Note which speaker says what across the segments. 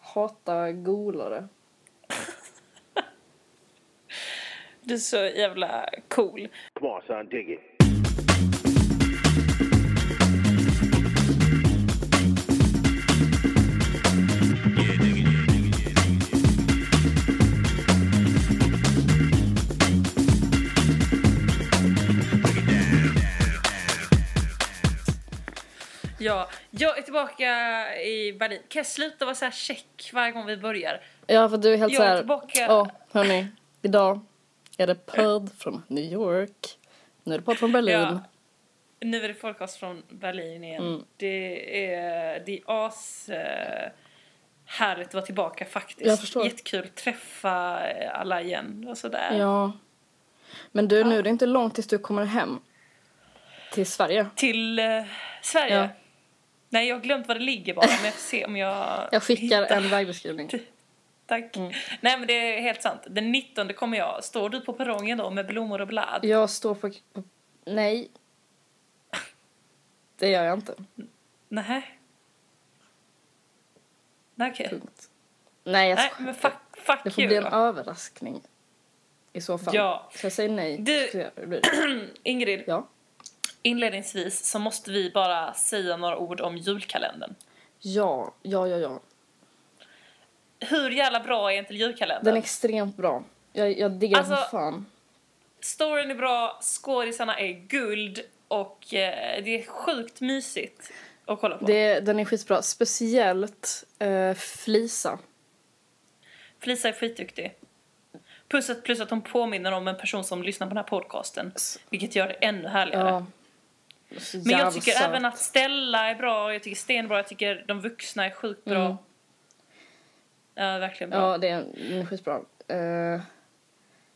Speaker 1: hatar golare.
Speaker 2: Du är så jävla cool.
Speaker 3: Come on, son, dig it.
Speaker 2: Ja, jag är tillbaka i Berlin. Kan jag sluta vara så här check varje gång vi börjar?
Speaker 1: Ja, för du är helt
Speaker 2: Jag är
Speaker 1: såhär...
Speaker 2: tillbaka.
Speaker 1: Ja, hörni. Idag är det podd från New York. Nu är det podd från Berlin.
Speaker 2: Ja. Nu är det podcast från Berlin igen.
Speaker 1: Mm.
Speaker 2: Det är, det är as eh, härligt att vara tillbaka faktiskt.
Speaker 1: Jag förstår.
Speaker 2: Jättekul att träffa eh, alla igen och sådär.
Speaker 1: Ja. Men du, nu är det inte långt tills du kommer hem. Till Sverige.
Speaker 2: Till eh, Sverige.
Speaker 1: Ja.
Speaker 2: Nej, jag har glömt var det ligger bara, men jag får se om jag...
Speaker 1: Jag skickar
Speaker 2: hittar.
Speaker 1: en Mm. vägbeskrivning.
Speaker 2: Tack. Nej, men det är helt sant. Den 19 kommer jag. Står du på perrongen då med blommor och blad?
Speaker 1: Jag står på... på nej. Det gör jag inte.
Speaker 2: Nej. Nej, okej.
Speaker 1: Punkt. Nej, jag
Speaker 2: Nej,
Speaker 1: skojar.
Speaker 2: men fuck, fuck
Speaker 1: Det får
Speaker 2: you.
Speaker 1: bli en
Speaker 2: då.
Speaker 1: överraskning. I så fall.
Speaker 2: Ja.
Speaker 1: Så jag säger nej.
Speaker 2: Du-
Speaker 1: så gör det det.
Speaker 2: Mm, Ingrid,
Speaker 1: Ja.
Speaker 2: inledningsvis så måste vi bara säga några ord om julkalendern.
Speaker 1: Ja, ja, ja, ja.
Speaker 2: Hur jävla bra är inte julkalendern?
Speaker 1: Den är extremt bra. Jag, jag diggar den
Speaker 2: Alltså-
Speaker 1: fan.
Speaker 2: Storyn är bra, skådisarna är guld och eh, det är sjukt mysigt att kolla på.
Speaker 1: Det, den är skitbra. Speciellt eh, Flisa.
Speaker 2: Felicia är skitduktig. Plus att, plus att hon påminner om en person som lyssnar på den här podcasten,
Speaker 1: S-
Speaker 2: vilket gör det ännu härligare.
Speaker 1: Ja. Så
Speaker 2: Men
Speaker 1: jävla
Speaker 2: jag tycker
Speaker 1: söt.
Speaker 2: även att Stella är bra, jag tycker Sten är bra, jag tycker de vuxna är sjukt bra.
Speaker 1: Mm.
Speaker 2: Ja, verkligen bra.
Speaker 1: Ja, det är, den är skitbra. Eh,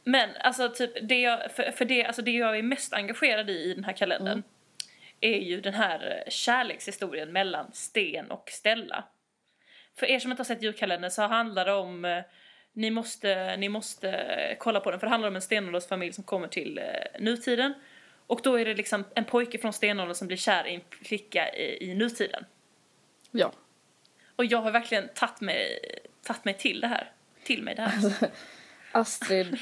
Speaker 2: Men alltså typ det jag, för, för det, alltså det jag är mest engagerad i i den här kalendern
Speaker 1: Mm.
Speaker 2: är ju den här eh, kärlekshistorien mellan Sten och Stella. För er som inte har sett julkalendern så handlar det om eh, ni måste, ni måste eh, kolla på den för det handlar om en stenåldersfamilj familj som kommer till eh, nutiden. Och då är det liksom en pojke från stenåldern som blir kär i en flicka i, i nutiden.
Speaker 1: ja.
Speaker 2: Och jag har verkligen tagit mig, tagit mig till det här. Till mig det här.
Speaker 1: Astrid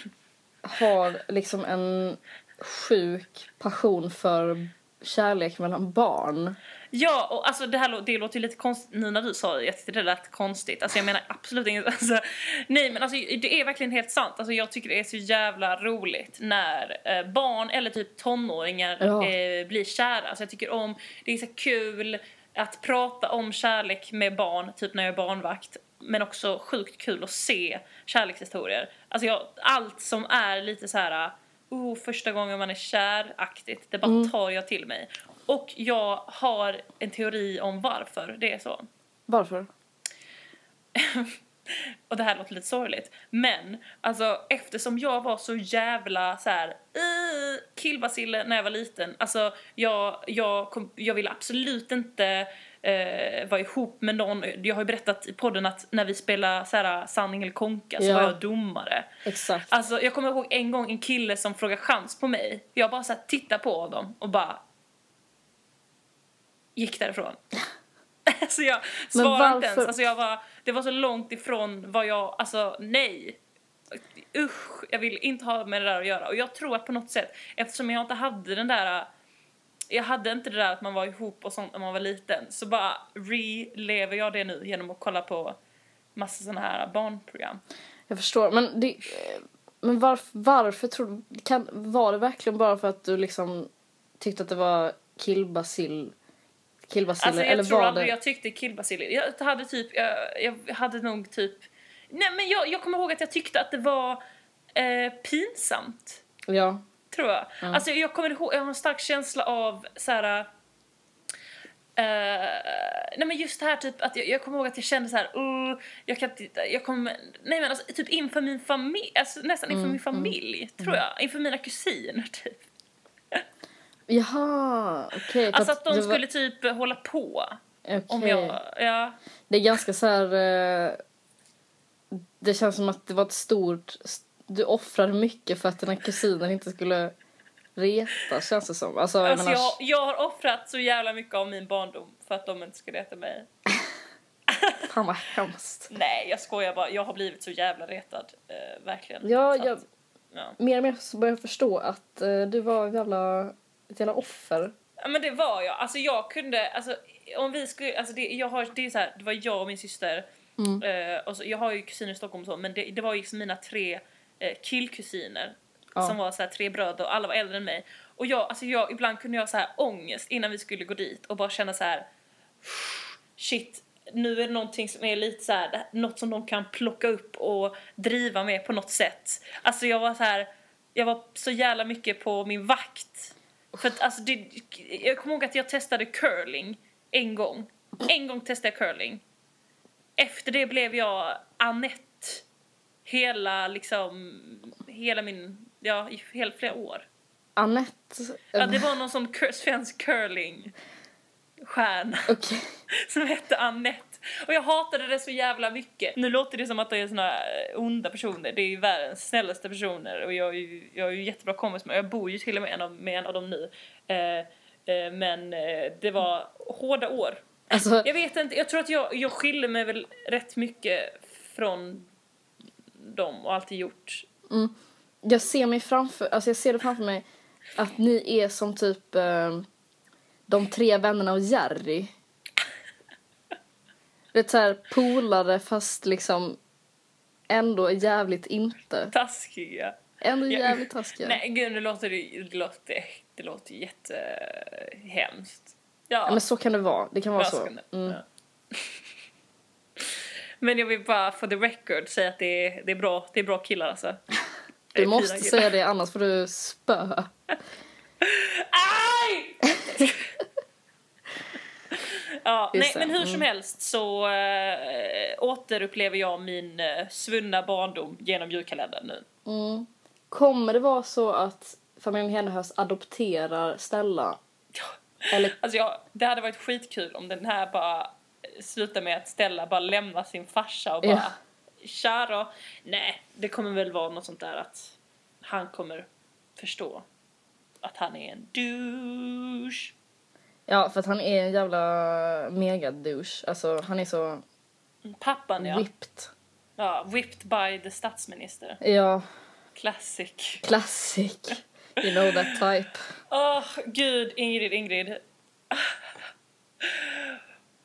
Speaker 1: har liksom en sjuk passion för kärlek mellan barn.
Speaker 2: Ja, och alltså det här lå- det låter ju lite konstigt nu när du sa det. Jag tyckte det lät konstigt. Alltså jag menar absolut inget. Alltså, nej, men alltså det är verkligen helt sant. Alltså jag tycker det är så jävla roligt när eh, barn eller typ tonåringar
Speaker 1: Ja.
Speaker 2: eh, blir kära. Alltså jag tycker om, det är så kul att prata om kärlek med barn, typ när jag är barnvakt. Men också sjukt kul att se kärlekshistorier. Alltså jag, allt som är lite så här oh, första gången man är kär-aktigt, det bara tar jag till mig. Och jag har en teori om varför det är så.
Speaker 1: Varför?
Speaker 2: Och det här låter lite sorgligt. Men alltså eftersom jag var så jävla så här "Ih, killbacille när jag var liten. Alltså jag, jag, kom, jag ville absolut inte eh, vara ihop med någon. Jag har ju berättat i podden att när vi spelade så här, sanning eller konka så
Speaker 1: Ja.
Speaker 2: var jag domare.
Speaker 1: Exakt.
Speaker 2: Alltså jag kommer ihåg en gång en kille som frågade chans på mig. Jag bara så här, tittade på honom och bara gick därifrån. alltså jag svarade inte ens.
Speaker 1: varför?
Speaker 2: Alltså jag var, det var så långt ifrån vad jag, alltså nej. Usch, jag vill inte ha med det där att göra. Och jag tror att på något sätt, eftersom jag inte hade den där, jag hade inte det där att man var ihop och sånt när man var liten, så bara relever jag det nu genom att kolla på massa såna här barnprogram.
Speaker 1: Jag förstår. Men, det, eh, men varf, varför tror du... Kan, var det verkligen bara för att du liksom tyckte att det var killbacill? Killbaciller?
Speaker 2: Alltså jag
Speaker 1: eller
Speaker 2: tror
Speaker 1: var
Speaker 2: aldrig
Speaker 1: det...
Speaker 2: jag tyckte killbaciller. Jag hade typ, jag, jag hade nog typ, nej men jag, jag kommer ihåg att jag tyckte att det var eh, pinsamt,
Speaker 1: Ja.
Speaker 2: tror jag. Alltså jag kommer ihåg, jag har en stark känsla av så här. eh, nej men just det här typ att jag, jag kommer ihåg att jag kände så här, "Åh, jag kan inte, jag kommer, nej men alltså typ inför min familj, alltså nästan
Speaker 1: Mm,
Speaker 2: inför min familj tror jag, inför mina kusiner typ.
Speaker 1: Jaha, okej. för
Speaker 2: Alltså att de
Speaker 1: det var-
Speaker 2: skulle typ eh, hålla på om
Speaker 1: okej.
Speaker 2: jag, ja.
Speaker 1: Det är ganska så här... eh, Det känns som att det var ett stort... Du offrade mycket för att dina kusiner inte skulle reta, känns det som. Alltså, jag
Speaker 2: Alltså
Speaker 1: menar,
Speaker 2: jag, jag har offrat så jävla mycket av min barndom för att de inte skulle äta mig.
Speaker 1: Fan vad hemskt.
Speaker 2: Nej, jag skojar bara. Jag har blivit så jävla retad. Eh, verkligen.
Speaker 1: Ja,
Speaker 2: Så att-
Speaker 1: jag
Speaker 2: ja.
Speaker 1: mer och mer så börjar jag förstå att eh, du var en jävla, ett jävla offer.
Speaker 2: Ja men det var jag. Alltså jag kunde, alltså om vi skulle, alltså det, jag har, det är så här, det var jag och min syster.
Speaker 1: Mm.
Speaker 2: Eh, och så, jag har ju kusiner i Stockholm och så, men det, det var ju liksom mina tre eh, killkusiner.
Speaker 1: Ja.
Speaker 2: Som var så här, tre bröder och alla var äldre än mig. Och jag, alltså jag, ibland kunde jag så här ångest innan vi skulle gå dit och bara känna så här shit, nu är det någonting som är lite så här, något som de kan plocka upp och driva med på något sätt. Alltså jag var så här, jag var så jävla mycket på min vakt. För att alltså det, jag kommer ihåg att jag testade curling en gång. En gång testade jag curling. Efter det blev jag Annette. Hela liksom, hela min, ja, i hela flera år.
Speaker 1: Annette. eh,
Speaker 2: Ja, det var någon sån cur- svensk curling-stjärna
Speaker 1: Okej.
Speaker 2: som hette Annette. Och jag hatade det så jävla mycket. Nu låter det som att det är såna eh, onda personer. Det är ju världens snällaste personer och jag är ju, jag är ju jättebra kompis med. Jag bor ju till och med en av, med en av dem nu. Eh, eh, men eh, det var hårda år.
Speaker 1: Alltså,
Speaker 2: Jag vet inte, jag tror att jag, jag skiljer mig väl rätt mycket från dem och alltid gjort.
Speaker 1: jag ser mig framför, alltså jag ser det framför mig att ni är som typ eh, de tre vännerna och Jerry. Det är så här polare fast liksom ändå jävligt inte.
Speaker 2: Taskiga.
Speaker 1: Ändå
Speaker 2: Ja.
Speaker 1: jävligt taskiga.
Speaker 2: Nej gud, det låter, det låter, det låter jättehemskt.
Speaker 1: Ja, men så kan det vara. Det kan vara så.
Speaker 2: Överraskande.
Speaker 1: Mm.
Speaker 2: Ja. Men jag vill bara for the record säga att det är, det är, bra, det är bra killar alltså. Det är
Speaker 1: Du
Speaker 2: fina
Speaker 1: måste
Speaker 2: killar.
Speaker 1: säga det annars får du spö.
Speaker 2: Aj! ja,
Speaker 1: Just
Speaker 2: nej,
Speaker 1: det,
Speaker 2: men hur
Speaker 1: mm.
Speaker 2: som helst så äh, återupplever jag min eh, svunna barndom genom julkalendern nu.
Speaker 1: Mm. Kommer det vara så att familjen Hedenhös adopterar Stella? Eller
Speaker 2: Alltså jag, det hade varit skitkul om den här bara slutar med att Stella bara lämnar sin farsa och bara
Speaker 1: Ja.
Speaker 2: Tja då. Nej, det kommer väl vara något sånt där att han kommer förstå att han är en douche.
Speaker 1: Ja, för att han är en jävla megadouche. Alltså, han är så
Speaker 2: Mm, Pappan ja.
Speaker 1: whipped.
Speaker 2: ja. Whipped by the statsminister.
Speaker 1: Ja,
Speaker 2: Classic.
Speaker 1: classic. You know that type.
Speaker 2: Åh, gud, Ingrid, Ingrid.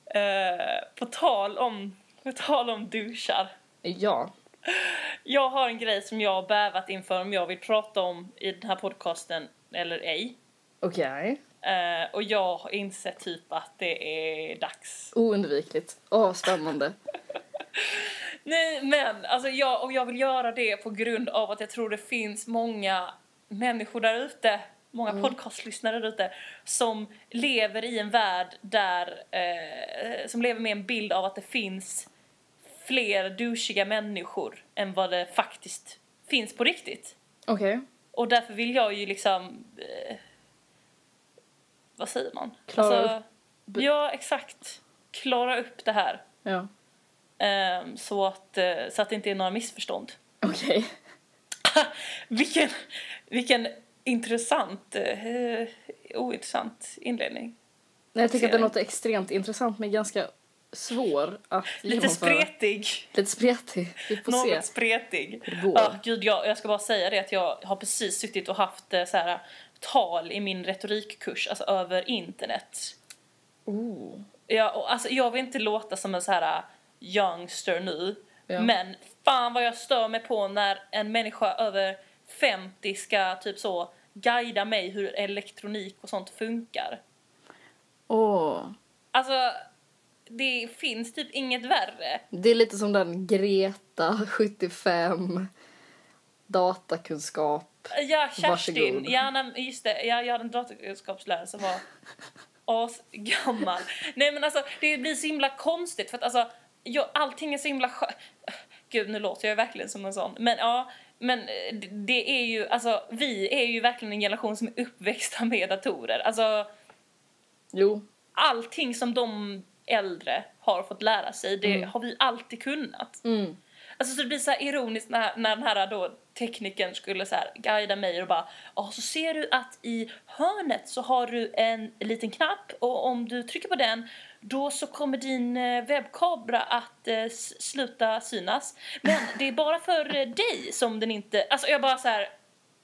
Speaker 2: Eh, på tal om, på tal om duschar.
Speaker 1: Ja.
Speaker 2: Jag har en grej som jag har bävat inför om jag vill prata om i den här podcasten eller ej.
Speaker 1: Okej.
Speaker 2: Eh, och jag har insett typ att det är dags.
Speaker 1: Oundvikligt. Åh, vad spännande.
Speaker 2: Nej men, alltså jag, och jag vill göra det på grund av att jag tror det finns många människor där ute, många podcastlyssnare där ute, som lever i en värld där, eh, som lever med en bild av att det finns fler douchiga människor än vad det faktiskt finns på riktigt.
Speaker 1: Okej.
Speaker 2: Och därför vill jag ju liksom... Eh, vad säger man?
Speaker 1: Klara
Speaker 2: upp. Ja, exakt. Klara upp det här.
Speaker 1: Ja.
Speaker 2: ehm, så, att, eh, så att det inte är några missförstånd.
Speaker 1: Okej.
Speaker 2: vilken, vilken intressant... Eh, ointressant inledning.
Speaker 1: Nej, Jag tycker att det låter extremt intressant men ganska svår att
Speaker 2: Lite
Speaker 1: genomföra.
Speaker 2: spretig.
Speaker 1: Lite spretig. Vi får se.
Speaker 2: Något spretig.
Speaker 1: det går.
Speaker 2: Ja, gud, jag, jag ska bara säga det att jag har precis suttit och haft eh, så här, tal i min retorikkurs, alltså över internet.
Speaker 1: Oh.
Speaker 2: Ja, och alltså, jag vill inte låta som en så här äh, youngster nu.
Speaker 1: Ja.
Speaker 2: Men fan vad jag stör mig på när en människa över 50 ska typ så guida mig hur elektronik och sånt funkar.
Speaker 1: Åh.
Speaker 2: Alltså, det finns typ inget värre.
Speaker 1: Det är lite som den Greta, 75, datakunskap.
Speaker 2: Ja, Kerstin.
Speaker 1: Varsågod.
Speaker 2: Ja, nej, just det. Ja, jag hade en datakunskapslärare som var asgammal. Nej, men alltså, det blir så himla konstigt för att alltså, jag, allting är så himla skö- Gud, nu låter jag verkligen som en sån. Men ja, men eh, det- det är ju, alltså, vi är ju verkligen en generation som är uppväxta med datorer. Alltså,
Speaker 1: Jo,
Speaker 2: allting som de äldre har fått lära sig, det har vi alltid kunnat.
Speaker 1: Mm.
Speaker 2: Alltså så det blir så här ironiskt när, när den här då teknikern skulle så här guida mig och bara ja så ser du att i hörnet så har du en liten knapp och om du trycker på den då så kommer din eh, webbkamera att eh, s- sluta synas. Men det är bara för eh, dig som den inte... Alltså jag bara så här...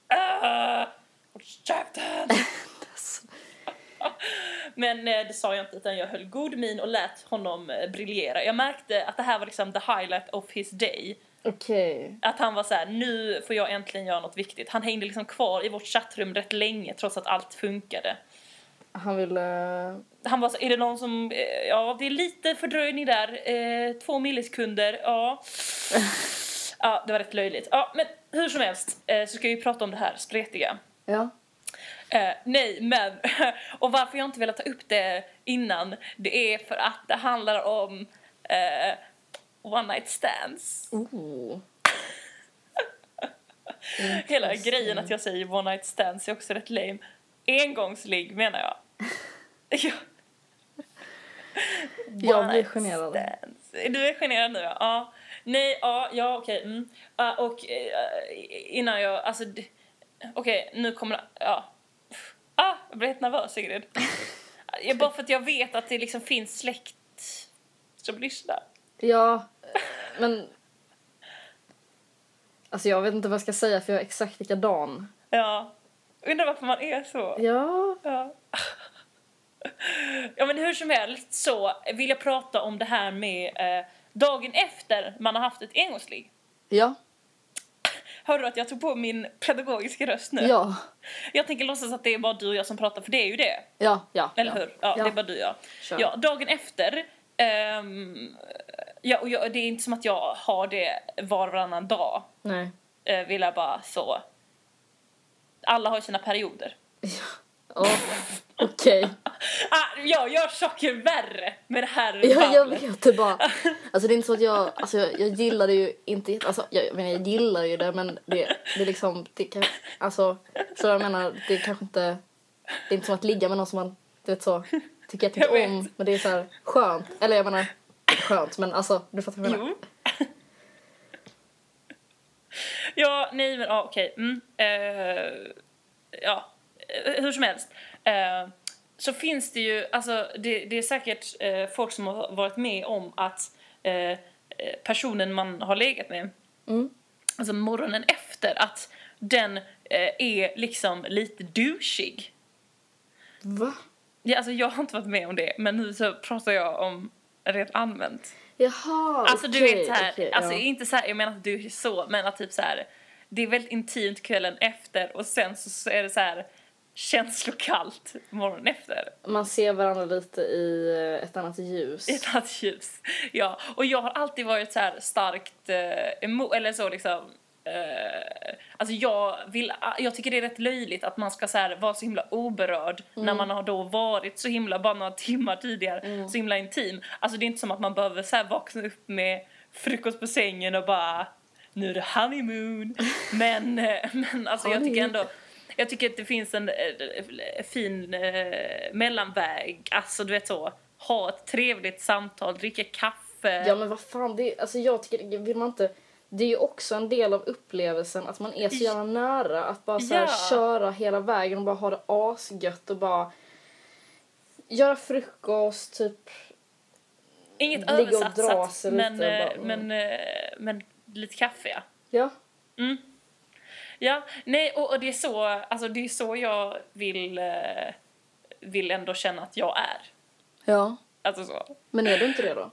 Speaker 2: "Ah, Håll käften! Men eh, det sa jag inte utan jag höll god min och lät honom eh, briljera. Jag märkte att det här var liksom the highlight of his day.
Speaker 1: Okej.
Speaker 2: Att han var så här: nu får jag äntligen göra något viktigt. Han hängde liksom kvar i vårt chattrum rätt länge trots att allt funkade.
Speaker 1: Han ville...
Speaker 2: Han var så, är det någon som, eh, ja det är lite fördröjning där, eh, två millisekunder, ja. Ja, det var rätt löjligt. Ja, men hur som helst eh, så ska vi prata om det här spretiga.
Speaker 1: Ja.
Speaker 2: Eh, nej, men... Och varför jag inte velat ta upp det innan det är för att det handlar om eh, one night stands.
Speaker 1: Oh.
Speaker 2: Hela grejen att jag säger one night stands är också rätt lame. Engångsligg menar jag. Ja.
Speaker 1: Jag
Speaker 2: One
Speaker 1: blir
Speaker 2: night
Speaker 1: generad.
Speaker 2: stands. Du är generad nu, ja. ja. Nej, ja, ja okej. Mm. Ja, och eh, innan jag... Alltså, d- okej, nu kommer... Ja. Ah, jag blir helt nervös, Sigrid. Jag, bara för att jag vet att det liksom finns släkt som lyssnar.
Speaker 1: Ja, men... Alltså jag vet inte vad jag ska säga för jag är exakt likadan.
Speaker 2: Ja. Undrar varför man är så.
Speaker 1: Ja.
Speaker 2: Ja. ja, men hur som helst så vill jag prata om det här med eh, dagen efter man har haft ett engångsligg.
Speaker 1: Ja.
Speaker 2: Hör du att jag tog på min pedagogiska röst nu?
Speaker 1: Ja.
Speaker 2: Jag tänker låtsas att det är bara du och jag som pratar, för det är ju det.
Speaker 1: Ja. Ja.
Speaker 2: Eller
Speaker 1: ja.
Speaker 2: hur? Ja, det är bara du och jag.
Speaker 1: Kör.
Speaker 2: Ja, dagen efter. ehm, ja, och jag, det är inte som att jag har det var och varannan dag.
Speaker 1: Nej.
Speaker 2: eh, vill jag bara så. Alla har ju sina perioder.
Speaker 1: Oh. Okej.
Speaker 2: Ah, jag gör saker värre med det här
Speaker 1: Jag, jag
Speaker 2: fallet.
Speaker 1: vet det bara. Alltså det är inte så att jag, alltså jag, jag gillar det ju inte, jätte- alltså jag, jag menar jag gillar ju det men det, det är liksom, det kan, alltså så jag menar det är kanske inte, det är inte som att ligga med någon som man, du vet så, tycker jag
Speaker 2: Jag
Speaker 1: tycker
Speaker 2: vet.
Speaker 1: om men det är så här skönt, eller jag menar inte skönt men alltså du fattar vad jag menar.
Speaker 2: Jo. ja, nej men ah, okej. Mm. Eh, ja, Eh, hur som helst. Eh, så finns det ju, alltså det, det är säkert eh, folk som har varit med om att eh, eh, personen man har legat med,
Speaker 1: Mm.
Speaker 2: alltså morgonen efter, att den eh, är liksom lite douchig.
Speaker 1: Va?
Speaker 2: Ja, alltså jag har inte varit med om det, men nu så pratar jag om rent allmänt.
Speaker 1: Jaha,
Speaker 2: Alltså du
Speaker 1: okej,
Speaker 2: vet så här,
Speaker 1: okej,
Speaker 2: alltså
Speaker 1: ja.
Speaker 2: inte så här, jag menar att du är så, men att typ så här, det är väldigt intimt kvällen efter och sen så, så är det så här känslokallt morgonen efter.
Speaker 1: Man ser varandra lite i eh, ett annat ljus.
Speaker 2: I ett annat ljus. Ja, och jag har alltid varit så här starkt eh, emot, eller så liksom, eh, alltså jag vill, jag tycker det är rätt löjligt att man ska så här vara så himla oberörd när man har då varit så himla, bara några timmar tidigare, så himla intim. Alltså det är inte som att man behöver så här vakna upp med frukost på sängen och bara nu är det honeymoon. Men, eh, men alltså jag tycker ändå jag tycker att det finns en eh, fin eh, mellanväg. Alltså du vet så, ha ett trevligt samtal, dricka kaffe.
Speaker 1: Ja men vad fan, det är, alltså jag tycker, vill man inte... Det är ju också en del av upplevelsen att man är så jävla nära att bara så här
Speaker 2: Ja.
Speaker 1: köra hela vägen och bara ha det asgött och bara göra frukost, typ.
Speaker 2: Inget
Speaker 1: ligga och dra
Speaker 2: översatsat,
Speaker 1: sig
Speaker 2: men,
Speaker 1: lite och
Speaker 2: eh,
Speaker 1: bara, mm.
Speaker 2: men, eh, men lite kaffe ja.
Speaker 1: Ja.
Speaker 2: Mm. Ja, nej och, och det, är så, alltså, det är så jag vill, eh, vill ändå känna att jag är.
Speaker 1: Ja.
Speaker 2: Alltså så.
Speaker 1: Men är du inte det då?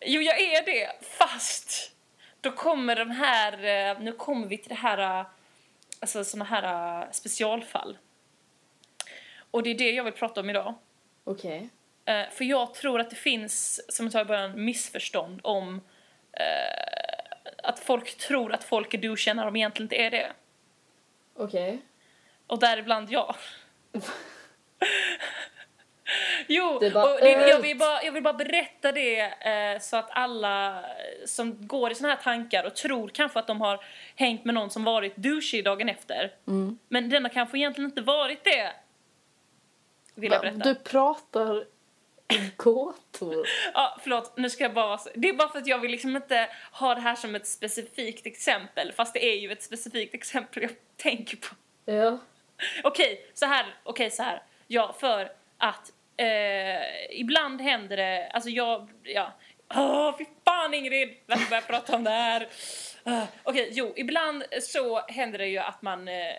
Speaker 2: Jo, jag är det, fast då kommer de här... eh, Nu kommer vi till det här... eh, Alltså såna här eh, specialfall. Och det är det jag vill prata om idag.
Speaker 1: Okej.
Speaker 2: Eh, För jag tror att det finns, som jag sa i början, missförstånd om eh, att folk tror att folk är douchiga när de egentligen inte är det.
Speaker 1: Okej.
Speaker 2: Och däribland jag. jo,
Speaker 1: Det är bara
Speaker 2: och det, jag,
Speaker 1: allt.
Speaker 2: vill bara, jag vill bara berätta det eh, så att alla som går i såna här tankar och tror kanske att de har hängt med någon som varit douchey dagen efter.
Speaker 1: Mm.
Speaker 2: Men den har kanske egentligen inte varit det. Vill jag
Speaker 1: Va-
Speaker 2: berätta.
Speaker 1: Du pratar i gåtor.
Speaker 2: Ja, förlåt, nu ska jag bara vara så. Det är bara för att jag vill liksom inte ha det här som ett specifikt exempel. Fast det är ju ett specifikt exempel jag tänker på.
Speaker 1: ja.
Speaker 2: Okej, så här. Okej, så här. Ja, för att eh, ibland händer det, alltså jag, ja, åh fy fan Ingrid, varför börjar jag prata om det här? Ah, Okej, jo, ibland så händer det ju att man eh,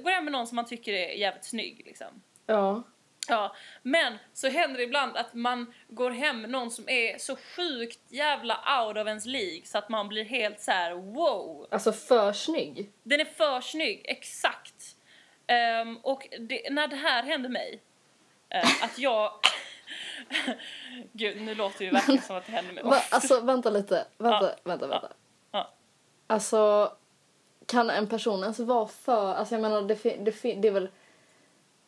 Speaker 2: går hem med någon som man tycker är jävligt snygg liksom.
Speaker 1: Ja.
Speaker 2: Ja, men så händer det ibland att man går hem med någon som är så sjukt jävla out of ens league så att man blir helt så här: wow.
Speaker 1: Alltså för snygg.
Speaker 2: Den är för snygg, exakt. Ehm, och det, när det här hände mig, eh, att jag... Gud, nu låter det ju verkligen som att det hände mig
Speaker 1: Va,
Speaker 2: ofta.
Speaker 1: alltså vänta lite. Vänta, vänta, vänta.
Speaker 2: Ja.
Speaker 1: Alltså kan en person ens vara för... Alltså jag menar det, fin- det, fin- det är väl...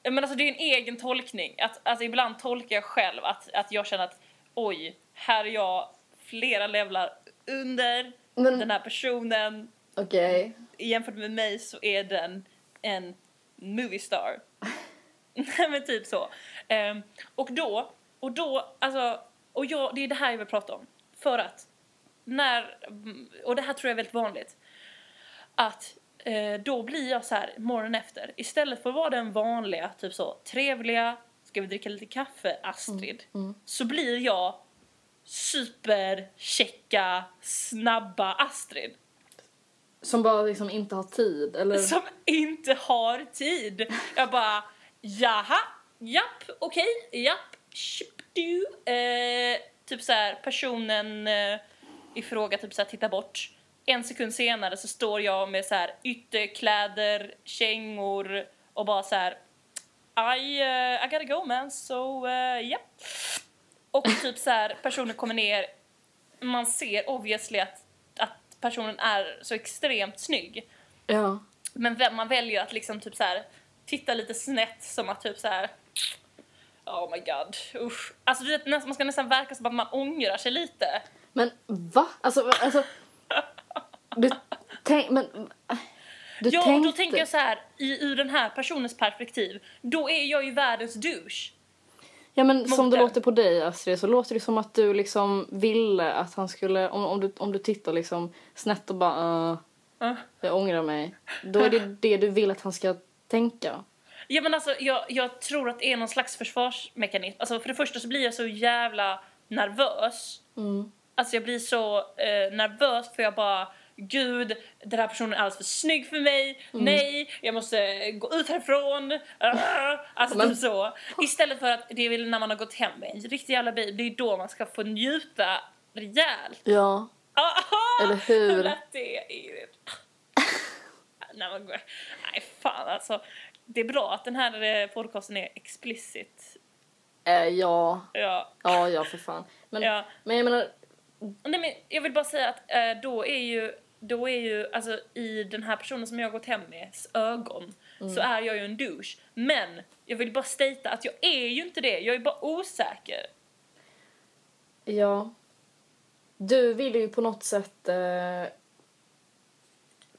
Speaker 2: Men alltså det är en egen tolkning. Att, alltså ibland tolkar jag själv att, att jag känner att oj, här är jag flera levlar under
Speaker 1: Men-
Speaker 2: den här personen.
Speaker 1: Okej.
Speaker 2: jämfört med mig så är den en movie star. Nej men typ så. Ehm, och då, och då, alltså, och jag, det är det här jag vill prata om. För att, när, och det här tror jag är väldigt vanligt, att eh, då blir jag så här morgonen efter, istället för att vara den vanliga, typ så, trevliga, ska vi dricka lite kaffe, Astrid, så blir jag superchecka, snabba Astrid.
Speaker 1: Som bara liksom inte har tid eller...
Speaker 2: Som inte har tid. Jag bara, jaha, japp, okej, japp, tjup, du. Eh, typ så här, personen eh, i fråga typ så här, tittar bort. En sekund senare så står jag med så här ytterkläder, kängor och bara så här, I, eh, I gotta go man, so eh, japp. Och typ så här, personen kommer ner, man ser obviously att, att personen är så extremt snygg.
Speaker 1: Ja.
Speaker 2: Men vem man väljer att liksom typ så här titta lite snett som att typ så här Oh my god, usch. Alltså du vet, nästan- man ska nästan verka som att man ångrar sig lite.
Speaker 1: Men va? Alltså... alltså du tänk... Men... Du
Speaker 2: Ja, och
Speaker 1: tänkte...
Speaker 2: då tänker jag så här, i, ur den här personens perspektiv, då är jag ju världens douche.
Speaker 1: Ja men
Speaker 2: mot
Speaker 1: som det
Speaker 2: den.
Speaker 1: låter på dig Astrid så låter det som att du liksom ville att han skulle, om, om, du, om du tittar liksom snett och bara "Ah,
Speaker 2: Ja.
Speaker 1: jag ångrar mig. Då är det det du vill att han ska tänka.
Speaker 2: Ja men alltså jag, jag tror att det är någon slags försvarsmekanism. Alltså för det första så blir jag så jävla nervös. Alltså jag blir så eh, nervös för jag bara Gud, den här personen är alldeles för snygg för mig. Nej, jag måste eh, gå ut härifrån. Ah, alltså
Speaker 1: Men-
Speaker 2: typ så. Istället för att det är väl när man har gått hem med en riktig jävla bil. Det är då man ska få njuta rejält.
Speaker 1: Ja.
Speaker 2: Ah, ah,
Speaker 1: Eller hur?
Speaker 2: Hur lät det, Ingrid? Nej, man går. Nej, fan alltså. Det är bra att den här eh, podcasten är explicit.
Speaker 1: Eh, ja.
Speaker 2: Ja.
Speaker 1: Ja, ja för fan. Men,
Speaker 2: Ja.
Speaker 1: men jag menar,
Speaker 2: Nej, men jag vill bara säga att eh, då är ju, då är ju alltså, i den här personen som jag har gått hem med s ögon så är jag ju en douche. Men jag vill bara statea att jag är ju inte det. Jag är bara osäker.
Speaker 1: ja. Du vill ju på något sätt eh,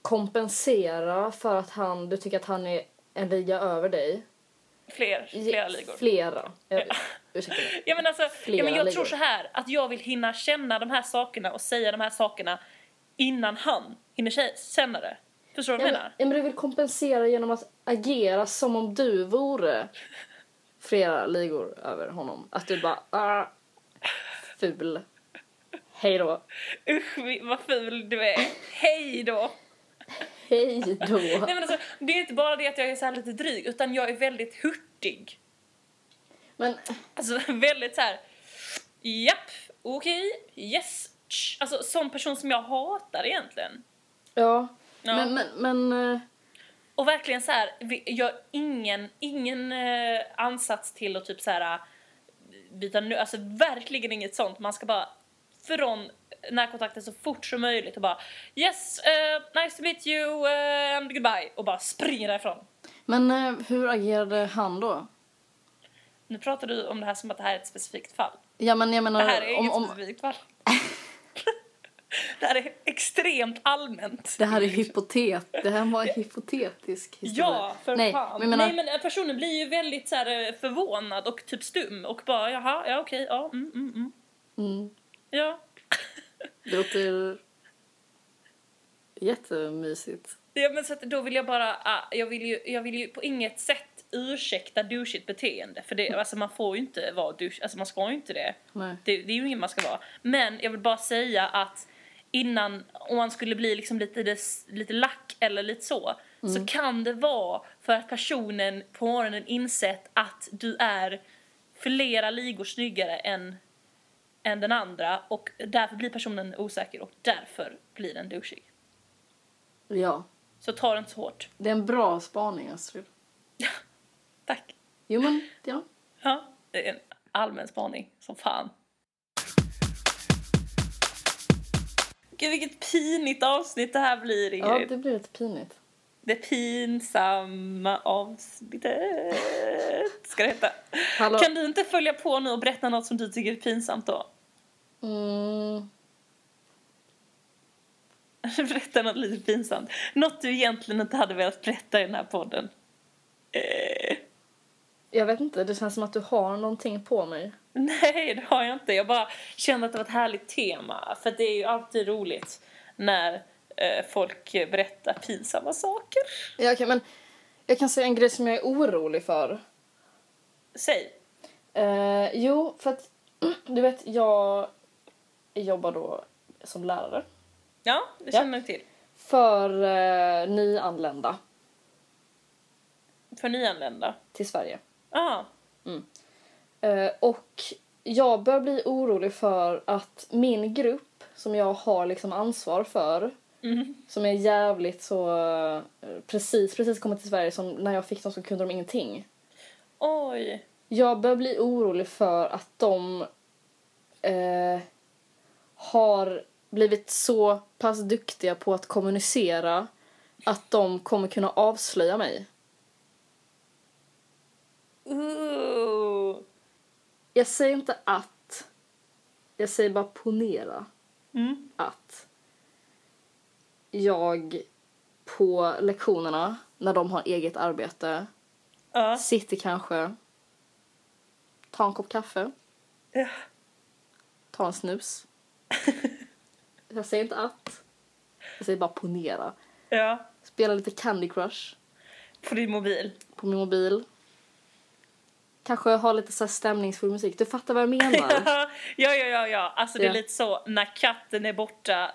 Speaker 1: kompensera för att han, du tycker att han är en liga över dig.
Speaker 2: Fler, flera ligor.
Speaker 1: Flera. Jag, ursäkta mig.
Speaker 2: Ja, men alltså, ja, men jag
Speaker 1: ligor.
Speaker 2: tror så här att jag vill hinna känna de här sakerna och säga de här sakerna innan han hinner kä- känna det. Förstår du
Speaker 1: Ja,
Speaker 2: vad jag
Speaker 1: men,
Speaker 2: menar?
Speaker 1: ja, men du vill kompensera genom att agera som om du vore flera ligor över honom. Att du bara, ah, ful. Hej då.
Speaker 2: Usch vi- vad ful du är. Hej då!
Speaker 1: Hej då.
Speaker 2: Nej, men alltså, det är inte bara det att jag är så här lite dryg utan jag är väldigt hurtig.
Speaker 1: Men,
Speaker 2: Alltså väldigt så här. Japp, okej, yes. tsch." Alltså sån person som jag hatar egentligen.
Speaker 1: ja.
Speaker 2: Ja.
Speaker 1: Men, men, men, eh,
Speaker 2: Och verkligen så här, vi gör ingen, ingen eh, ansats till att typ så här eh, byta nu, alltså verkligen inget sånt. Man ska bara från närkontakten så fort som möjligt och bara yes, eh, nice to meet you eh, and goodbye och bara springer därifrån.
Speaker 1: men eh, hur agerade han då?
Speaker 2: Nu pratar du om det här som att det här är ett specifikt fall.
Speaker 1: Ja men jag
Speaker 2: Det här är
Speaker 1: menar, om,
Speaker 2: inget
Speaker 1: om,
Speaker 2: specifikt fall. det här är extremt allmänt.
Speaker 1: det här är hypotet. Det här var en hypotetisk historia.
Speaker 2: Ja, för
Speaker 1: Nej,
Speaker 2: fan.
Speaker 1: men jag menar-
Speaker 2: Nej, men eh, personen blir ju väldigt så här, eh, förvånad och typ stum och bara jaha, ja okej, ja, mm, mm, mm.
Speaker 1: Mm,
Speaker 2: Ja,
Speaker 1: det låter jättemysigt.
Speaker 2: Ja, men så att då vill jag bara, ah, jag vill ju, jag vill ju på inget sätt ursäkta douchigt beteende. För det, alltså man får ju inte vara douche, alltså man ska ju inte det.
Speaker 1: Nej.
Speaker 2: Det, det är ju ingen man ska vara. Men jag vill bara säga att innan, om man skulle bli liksom lite, des- lite lack eller lite så, så kan det vara för att personen på morgonen insett att du är flera ligor snyggare än, än den andra och därför blir personen osäker och därför blir den douchig.
Speaker 1: Ja.
Speaker 2: Så ta det inte så hårt.
Speaker 1: Det är en bra spaning, Astrid.
Speaker 2: Tack.
Speaker 1: Jo, men ja.
Speaker 2: Ja, det är en allmän spaning som fan. Gud vilket pinigt avsnitt det här blir
Speaker 1: Ja,
Speaker 2: Ingrid.
Speaker 1: det blir lite pinigt.
Speaker 2: Det pinsamma avsnittet ska det heta.
Speaker 1: Hallå.
Speaker 2: Kan du inte följa på nu och berätta något som du tycker är pinsamt då?
Speaker 1: Mm,
Speaker 2: berätta något lite pinsamt. Något du egentligen inte hade velat berätta i den här podden. Eh,
Speaker 1: jag vet inte, det känns som att du har någonting på mig.
Speaker 2: Nej, det har jag inte. Jag bara kände att det var ett härligt tema. För det är ju alltid roligt när eh, folk berättar pinsamma saker.
Speaker 1: Ja, okej, men jag kan säga en grej som jag är orolig för.
Speaker 2: Säg.
Speaker 1: Eh, jo, för att du vet, jag jobbar då som lärare
Speaker 2: Ja, det
Speaker 1: Ja.
Speaker 2: känner jag till.
Speaker 1: för eh, nyanlända
Speaker 2: För nyanlända.
Speaker 1: till Sverige.
Speaker 2: Ja.
Speaker 1: Eh, och jag börjar bli orolig för att min grupp som jag har liksom ansvar för
Speaker 2: Mm.
Speaker 1: som är jävligt så eh, precis, precis kommit till Sverige som när jag fick dem så kunde de ingenting.
Speaker 2: Oj.
Speaker 1: Jag börjar bli orolig för att de eh, har blivit så pass duktiga på att kommunicera att de kommer kunna avslöja mig.
Speaker 2: Ooh.
Speaker 1: Jag säger inte att, jag säger bara ponera
Speaker 2: Mm.
Speaker 1: att jag på lektionerna, när de har eget arbete,
Speaker 2: Ja.
Speaker 1: sitter kanske, tar en kopp kaffe,
Speaker 2: Ja.
Speaker 1: tar en snus. jag säger inte att, jag säger bara ponera.
Speaker 2: ja.
Speaker 1: Spelar lite Candy Crush
Speaker 2: På din mobil.
Speaker 1: på min mobil. Kanske har lite så här stämningsfull musik. Du fattar vad jag menar?
Speaker 2: ja, ja, ja, ja. Alltså det är
Speaker 1: Ja.
Speaker 2: lite så, när katten är borta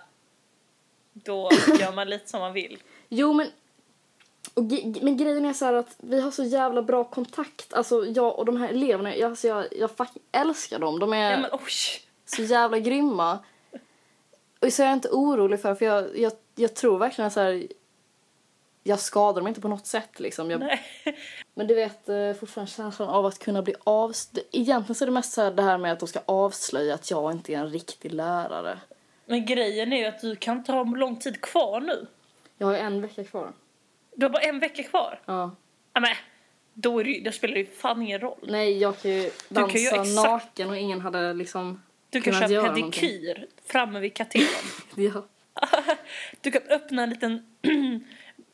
Speaker 2: då gör man lite som man vill.
Speaker 1: Jo, men... Och ge- men grejen är så här att vi har så jävla bra kontakt. Alltså jag och de här eleverna, jag, alltså jag, jag fucking älskar dem. De är
Speaker 2: Ja, men oj.
Speaker 1: så jävla grymma. Och så är jag inte orolig för, för jag, jag, jag tror verkligen så här... Jag skadar dem inte på något sätt liksom. Jag,
Speaker 2: Nej.
Speaker 1: men du vet eh, fortfarande känslan av att kunna bli avslöjad. Egentligen så är det mest så här det här med att de ska avslöja att jag inte är en riktig lärare.
Speaker 2: Men grejen är ju att du kan inte ha lång tid kvar nu.
Speaker 1: Jag har ju en vecka kvar.
Speaker 2: Du har bara en vecka kvar.
Speaker 1: Ja.
Speaker 2: Ja, men, då, är det, ju- då spelar det ju fan ingen roll.
Speaker 1: Nej, jag kan ju
Speaker 2: kan
Speaker 1: dansa
Speaker 2: ju göra exakt-
Speaker 1: naken och ingen hade liksom
Speaker 2: Du kan
Speaker 1: kunnat
Speaker 2: köra
Speaker 1: göra någonting.
Speaker 2: pedikyr framme vid katedern.
Speaker 1: Ja.
Speaker 2: du kan öppna en liten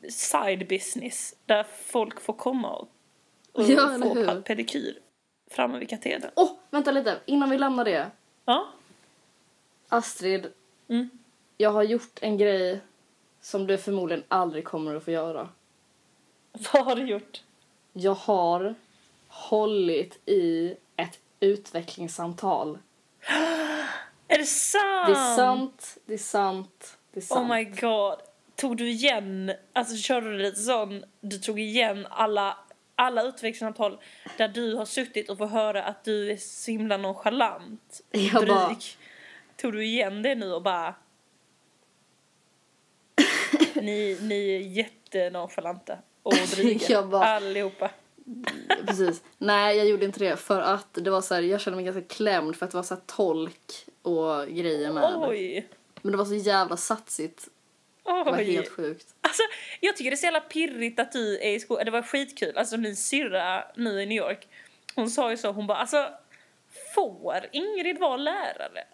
Speaker 2: side business där folk får komma och, och
Speaker 1: Ja, eller
Speaker 2: få
Speaker 1: hur?
Speaker 2: pa- pedikyr framme vid katedern.
Speaker 1: Åh, vänta lite. Innan vi lämnar det.
Speaker 2: Ja.
Speaker 1: Astrid,
Speaker 2: Mm.
Speaker 1: jag har gjort en grej som du förmodligen aldrig kommer att få göra.
Speaker 2: Vad har du gjort?
Speaker 1: Jag har hållit i ett utvecklingssamtal.
Speaker 2: Är det sant?
Speaker 1: Det är sant, det är sant, det är sant.
Speaker 2: Ah. Oh my god. Tog du igen, alltså körde du lite sån, du tog igen alla, alla utvecklingssamtal där du har suttit och får höra att du är så himla nonchalant.
Speaker 1: Jag bara-
Speaker 2: dryg. Tog du igen det nu och bara... ni, ni är jättenonchalanter och dryga.
Speaker 1: Jag bara-
Speaker 2: Allihopa.
Speaker 1: Precis. Nej, jag gjorde inte det för att det var så här, jag kände mig ganska klämd för att det var så här tolk och grejer med.
Speaker 2: Oj.
Speaker 1: Men det var så jävla satsigt. Det var
Speaker 2: Oj.
Speaker 1: helt sjukt.
Speaker 2: Alltså, jag tycker det är så jävla pirrigt att du är i skolan. Det var skitkul. Alltså min syrra nu i New York, hon sa ju så, hon bara alltså får Ingrid vara lärare?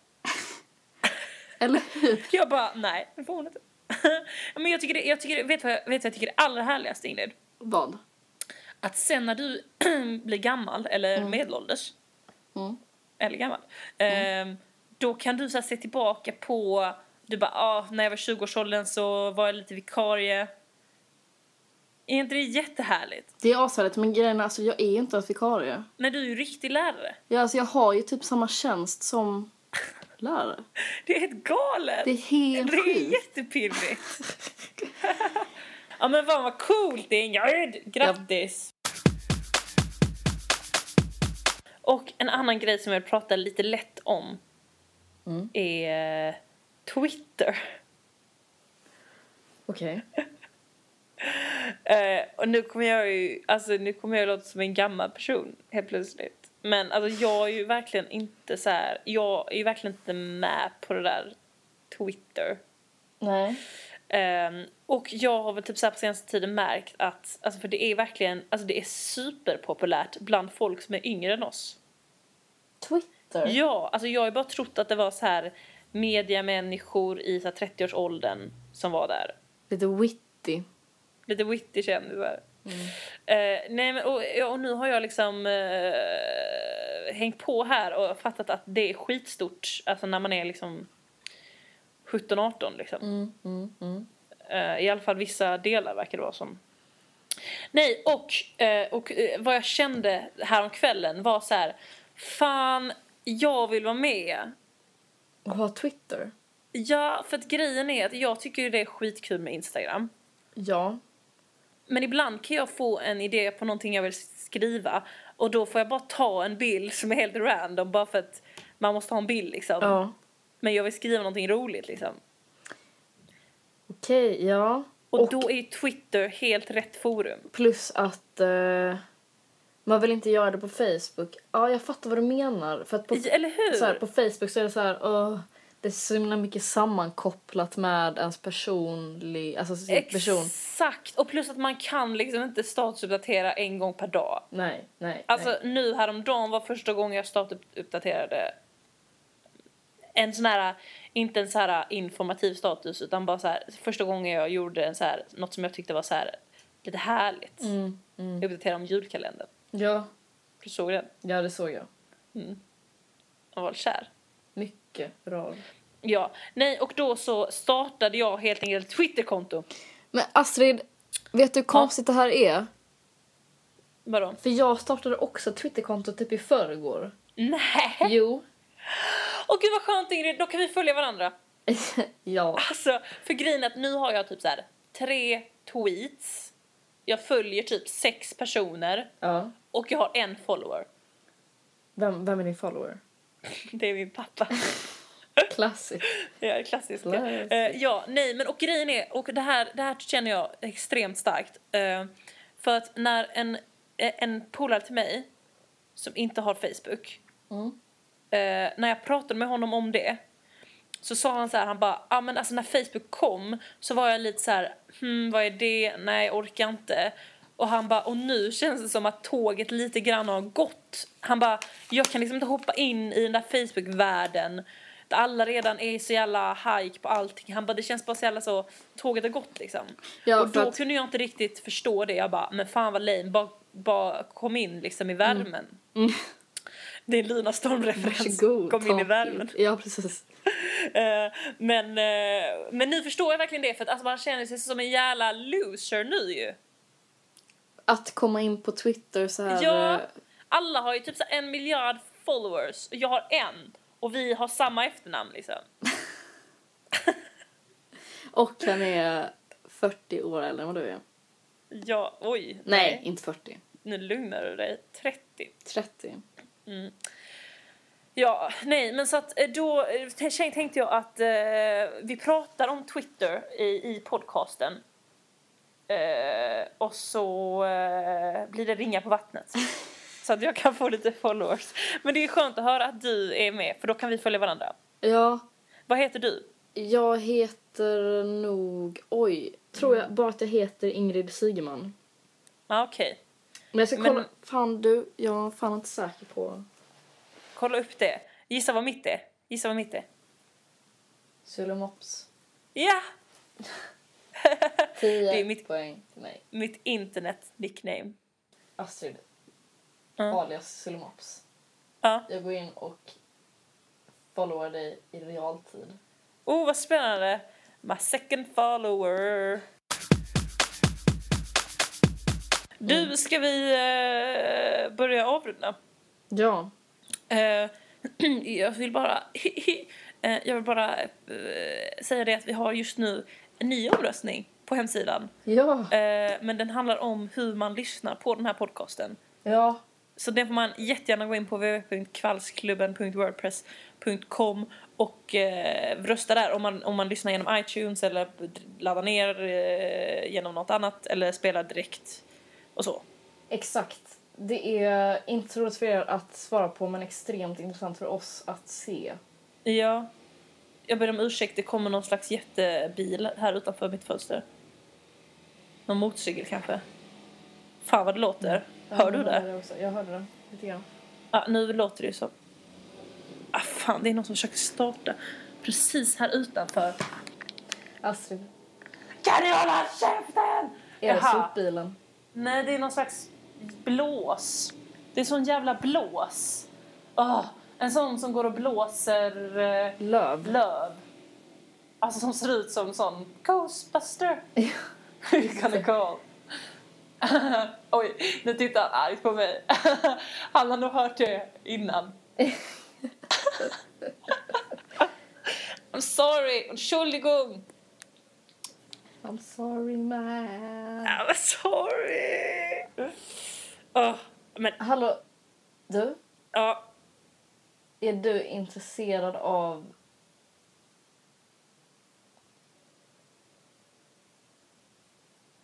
Speaker 1: Eller hur?
Speaker 2: Jag bara nej, det får hon inte. Men jag tycker det, jag tycker det, vet du vad jag, vet du vad jag tycker det allra härligaste Ingrid?
Speaker 1: Vad?
Speaker 2: Att sen när du blir gammal eller medelålders,
Speaker 1: Mm.
Speaker 2: eller gammal, ehm, då kan du så här, se tillbaka på, du bara ah, när jag var 20-årsåldern så var jag lite vikarie, Är inte det jättehärligt?
Speaker 1: Det är ashärligt men grejen är alltså jag är inte ens vikarie.
Speaker 2: När du är ju riktig lärare.
Speaker 1: Jag, alltså, jag har ju typ samma tjänst som lärare.
Speaker 2: Det är helt galet!
Speaker 1: Det är helt
Speaker 2: Det är
Speaker 1: sjukt.
Speaker 2: jättepirrigt. ja men fan vad coolt Ingrid! Grattis! Och en annan grej som jag vill prata lite lätt om
Speaker 1: Mm.
Speaker 2: är eh, Twitter.
Speaker 1: Okej.
Speaker 2: Eh, och nu kommer jag ju, alltså nu kommer jag låta som en gammal person helt plötsligt. Men alltså jag är ju verkligen inte så här, jag är ju verkligen inte med på det där Twitter.
Speaker 1: Nej.
Speaker 2: Ehm, och jag har väl typ så här på senaste tiden märkt att, alltså för det är verkligen, alltså det är superpopulärt bland folk som är yngre än oss.
Speaker 1: Twitter?
Speaker 2: Ja, alltså jag har ju bara trott att det var så här mediamänniskor i så här 30-årsåldern som var där.
Speaker 1: Lite witty.
Speaker 2: Lite witty kändisar.
Speaker 1: Mm.
Speaker 2: Eh, nej men och, ja, och nu har jag liksom eh, hängt på här och fattat att det är skitstort, alltså när man är liksom 17-18 liksom.
Speaker 1: Mm, mm, mm.
Speaker 2: Eh, I alla fall vissa delar verkar det vara som. Nej, och, eh, och eh, vad jag kände häromkvällen var så här... Fan, jag vill vara med.
Speaker 1: Och ha Twitter?
Speaker 2: Ja, för att grejen är att jag tycker ju det är skitkul med Instagram.
Speaker 1: Ja.
Speaker 2: Men ibland kan jag få en idé på någonting jag vill skriva och då får jag bara ta en bild som är helt random bara för att man måste ha en bild liksom.
Speaker 1: Ja.
Speaker 2: Men jag vill skriva någonting roligt liksom.
Speaker 1: Okej, ja.
Speaker 2: Och,
Speaker 1: Och-
Speaker 2: då är ju Twitter helt rätt forum.
Speaker 1: Plus att eh, man vill inte göra det på Facebook. Ja, jag fattar vad du menar. För att på,
Speaker 2: I- Eller hur?
Speaker 1: så här, på Facebook så är det så här... "Åh, det är så himla mycket sammankopplat med ens personlig... Alltså sin person.
Speaker 2: Exakt! Och plus att man kan liksom inte statusuppdatera en gång per dag.
Speaker 1: Nej, nej,
Speaker 2: Alltså
Speaker 1: nej.
Speaker 2: nu häromdagen var första gången jag statusuppdaterade en sån här, inte en så här informativ status utan bara så här, första gången jag gjorde en så här, något som jag tyckte var så här lite härligt.
Speaker 1: Mm, mm.
Speaker 2: Jag uppdaterade om julkalendern.
Speaker 1: Ja,
Speaker 2: Du såg den?
Speaker 1: ja, det såg jag.
Speaker 2: Jag var kär.
Speaker 1: Mycket bra.
Speaker 2: Ja, nej och då så startade jag helt enkelt ett Twitterkonto.
Speaker 1: Men Astrid, vet du hur konstigt det här är?
Speaker 2: Vadå?
Speaker 1: För jag startade också ett Twitterkonto typ i förrgår.
Speaker 2: Nej!
Speaker 1: Jo.
Speaker 2: Och gud vad skönt Ingrid, då kan vi följa varandra.
Speaker 1: ja.
Speaker 2: Alltså, för grejen är att nu har jag typ så här tre tweets. Jag följer typ sex personer
Speaker 1: ja.
Speaker 2: och jag har en follower.
Speaker 1: Vem, vem är din follower?
Speaker 2: Det är min pappa.
Speaker 1: Classic.
Speaker 2: Ja, klassiska.
Speaker 1: Classic.
Speaker 2: Eh, ja, nej, men och grejen är, och det här, det här känner jag extremt starkt. Eh, för att när en, eh, en polare till mig som inte har Facebook,
Speaker 1: Mm.
Speaker 2: eh, när jag pratade med honom om det så sa han så här, han bara, ah, men alltså när Facebook kom så var jag lite så här, hmm, vad är det, nej jag orkar inte. Och han bara, och nu känns det som att tåget lite grann har gått. Han bara, jag kan liksom inte hoppa in i den där Facebook-världen där alla redan är så jävla hajk på allting. Han bara, det känns bara så jävla så, tåget har gått liksom.
Speaker 1: Ja,
Speaker 2: och
Speaker 1: för
Speaker 2: då
Speaker 1: att-
Speaker 2: kunde jag inte riktigt förstå det. Jag bara, men fan vad lame, bara, bara kom in liksom i
Speaker 1: Mm.
Speaker 2: värmen. Det är en Lina Storm-referens.
Speaker 1: Varsågod.
Speaker 2: Alltså, Kom in
Speaker 1: ta
Speaker 2: i
Speaker 1: en
Speaker 2: värmen.
Speaker 1: bild. Ja, precis.
Speaker 2: Eh, men, eh, men nu förstår jag verkligen det för att alltså, man känner sig som en jävla loser nu ju.
Speaker 1: Att komma in på Twitter så här...
Speaker 2: Ja,
Speaker 1: eh,
Speaker 2: alla har ju typ så här en miljard followers och jag har en och vi har samma efternamn liksom.
Speaker 1: Och han är 40 år äldre än vad du är.
Speaker 2: Ja, oj.
Speaker 1: Nej, inte 40.
Speaker 2: Nu lugnar du dig. 30.
Speaker 1: 30.
Speaker 2: Ja, nej, men så att eh, då eh, t- tänk- tänkte jag att eh, vi pratar om Twitter i, i podcasten. Eh, och så eh, blir det ringa på vattnet. Så att jag kan få lite followers. Men det är skönt att höra att du är med, för då kan vi följa varandra.
Speaker 1: Ja,
Speaker 2: Vad heter du?
Speaker 1: jag heter nog... Oj. Tror jag bara att jag heter Ingrid Sigeman.
Speaker 2: Ja, okej.
Speaker 1: Men jag ska
Speaker 2: Men-
Speaker 1: kolla. Fan du, jag är fan inte säker på...
Speaker 2: Kolla upp det. Gissa vad mitt är. Gissa vad mitt är.
Speaker 1: Sulemops.
Speaker 2: Ja!
Speaker 1: 10
Speaker 2: Det är mitt-
Speaker 1: poäng till mig.
Speaker 2: Mitt internet-nickname.
Speaker 1: Astrid.
Speaker 2: Ja.
Speaker 1: Alias Sulemops.
Speaker 2: Ja.
Speaker 1: Jag går in och followar dig i realtid.
Speaker 2: Oh, vad spännande! My second follower. Du, ska vi eh, börja avrunda?
Speaker 1: Ja.
Speaker 2: Eh, jag vill bara, eh, jag vill bara eh, säga det att vi har just nu en ny omröstning på hemsidan.
Speaker 1: Ja.
Speaker 2: Eh, men den handlar om hur man lyssnar på den här podcasten.
Speaker 1: Ja.
Speaker 2: Så den får man jättegärna gå in på www.kvallsklubben.wordpress.com och eh, rösta där om man, om man lyssnar genom iTunes eller laddar ner eh, genom något annat eller spelar direkt och så.
Speaker 1: Exakt. Det är inte så roligt för er att svara på men extremt intressant för oss att se.
Speaker 2: Ja. Jag ber om ursäkt, det kommer någon slags jättebil här utanför mitt fönster. Någon motorcykel kanske. Fan vad det låter. Hör du det?
Speaker 1: också. Jag hörde det. Lite grann.
Speaker 2: Ja, nu låter det ju som... Ah, fan, det är någon som försöker starta precis här utanför.
Speaker 1: Astrid,
Speaker 2: Kan du hålla käften?
Speaker 1: är det
Speaker 2: Jaha.
Speaker 1: sopbilen?
Speaker 2: Nej, det är någon slags blås. Det är sån jävla blås. Åh, en sån som går och blåser eh,
Speaker 1: Löv?
Speaker 2: löv. Alltså som ser ut som sån Ghostbuster.
Speaker 1: Ja.
Speaker 2: You're gonna call. Oj, nu tittar han argt på mig. han har nog hört det innan. I'm sorry, Entschuldigung.
Speaker 1: I'm sorry man.
Speaker 2: I'm Ah, sorry. Åh, men ah,
Speaker 1: Hallå, du?
Speaker 2: ja,
Speaker 1: Är du intresserad av...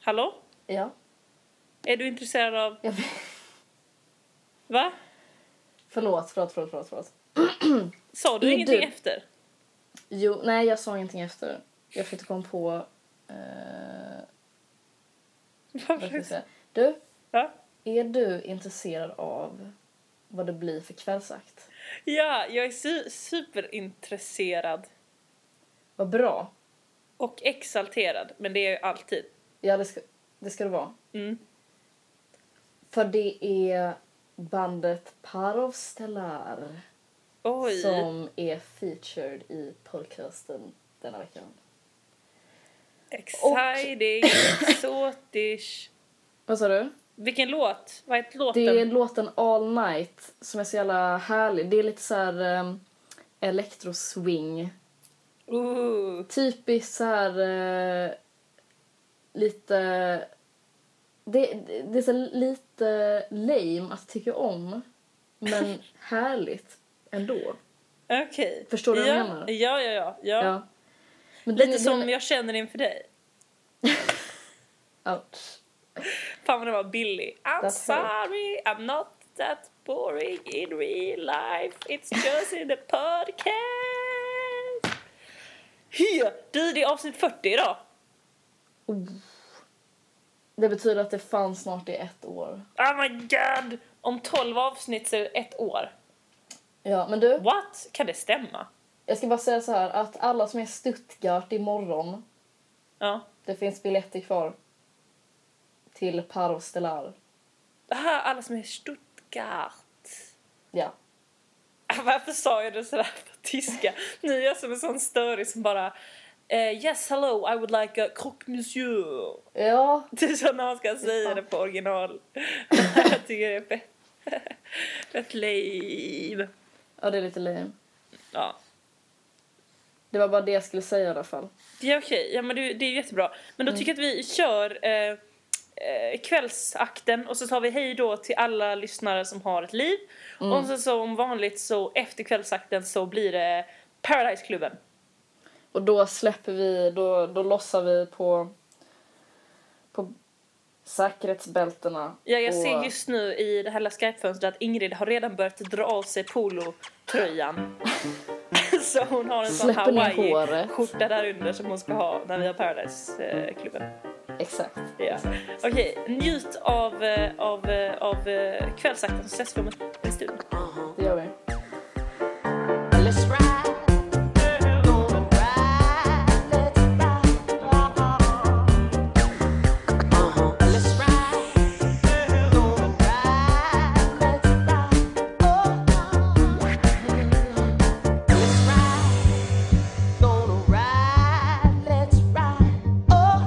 Speaker 2: hallå?
Speaker 1: Ja,
Speaker 2: Är du intresserad av...
Speaker 1: jag vet.
Speaker 2: Va?
Speaker 1: Förlåt, förlåt, förlåt, förlåt, förlåt.
Speaker 2: Sa du
Speaker 1: Är
Speaker 2: ingenting
Speaker 1: du-
Speaker 2: efter?
Speaker 1: Jo, nej, jag sa ingenting efter. Jag försökte komma på... Eh, vad ska jag säga? Du,
Speaker 2: Va?
Speaker 1: är du intresserad av vad det blir för kvällsakt?
Speaker 2: Ja, jag är su- superintresserad
Speaker 1: Vad bra.
Speaker 2: och exalterad, men det är jag ju alltid.
Speaker 1: Ja, det ska det, ska det vara.
Speaker 2: Mm.
Speaker 1: För det är bandet Parovstellar
Speaker 2: Oj.
Speaker 1: som är featured i podcasten denna veckan.
Speaker 2: Exciting, exotisch.
Speaker 1: Vad sa du?
Speaker 2: Vilken låt? Vad heter låten?
Speaker 1: Det är låten All Night som är så jävla härlig. Det är lite så här ehm, electro-swing.
Speaker 2: Ooh.
Speaker 1: Typiskt så här eh, lite... Det, det- det är så här lite lame att tycka om, men härligt ändå.
Speaker 2: Okej.
Speaker 1: Förstår du vad
Speaker 2: ja.
Speaker 1: jag menar?
Speaker 2: Ja, ja, ja. ja.
Speaker 1: Ja. Men
Speaker 2: Lite
Speaker 1: det- det-
Speaker 2: som jag känner inför dig.
Speaker 1: Ja.
Speaker 2: Fan vad det var billig. I'm
Speaker 1: That's
Speaker 2: sorry, I'm not that boring in real life. It's just in the podcast. Hy! Du, det är avsnitt 40 idag.
Speaker 1: Det betyder att det fanns snart i ett år.
Speaker 2: Oh my god! Om 12 avsnitt så är det ett år.
Speaker 1: Ja, men du,
Speaker 2: What? Kan det stämma?
Speaker 1: jag ska bara säga så här att alla som är i Stuttgart imorgon
Speaker 2: Ja.
Speaker 1: Det finns biljetter kvar. Till Parvstelar.
Speaker 2: Aha, alla som är i Stuttgart.
Speaker 1: Ja.
Speaker 2: Ah, Varför sa jag det sådär på tyska? Nu är jag som en sån störig som bara eh, Yes hello, I would like a croque monsieur.
Speaker 1: Ja,
Speaker 2: Det är så när man ska säga det på original. jag tycker det är fett, fett lame.
Speaker 1: ja det är lite lame.
Speaker 2: Ja.
Speaker 1: Det var bara det jag skulle säga i alla fall.
Speaker 2: Ja, okej. Ja, men det, det är jättebra. Men då tycker jag att vi kör eh, eh, kvällsakten och så tar vi hej då till alla lyssnare som har ett liv. Och så som vanligt så efter kvällsakten så blir det Paradise-klubben.
Speaker 1: Och då släpper vi, då, då lossar vi på, på säkerhetsbältena.
Speaker 2: Ja, jag
Speaker 1: och,
Speaker 2: ser just nu i det här lilla Skype-fönstret att Ingrid har redan börjat dra av sig polotröjan. så hon har en sån
Speaker 1: Släpper ner håret.
Speaker 2: Hawaii-skjorta där under som hon ska ha när vi har Paradise-klubben.
Speaker 1: Exakt.
Speaker 2: Ja. Okej, njut av, eh, av, eh, av eh, kvällsakten så ses vi om en stund.
Speaker 1: Det gör vi.
Speaker 3: Let's ride, gonna ride, let's ride. Let's ride, gonna ride, let's ride. Let's ride, gonna ride, let's ride. Oh,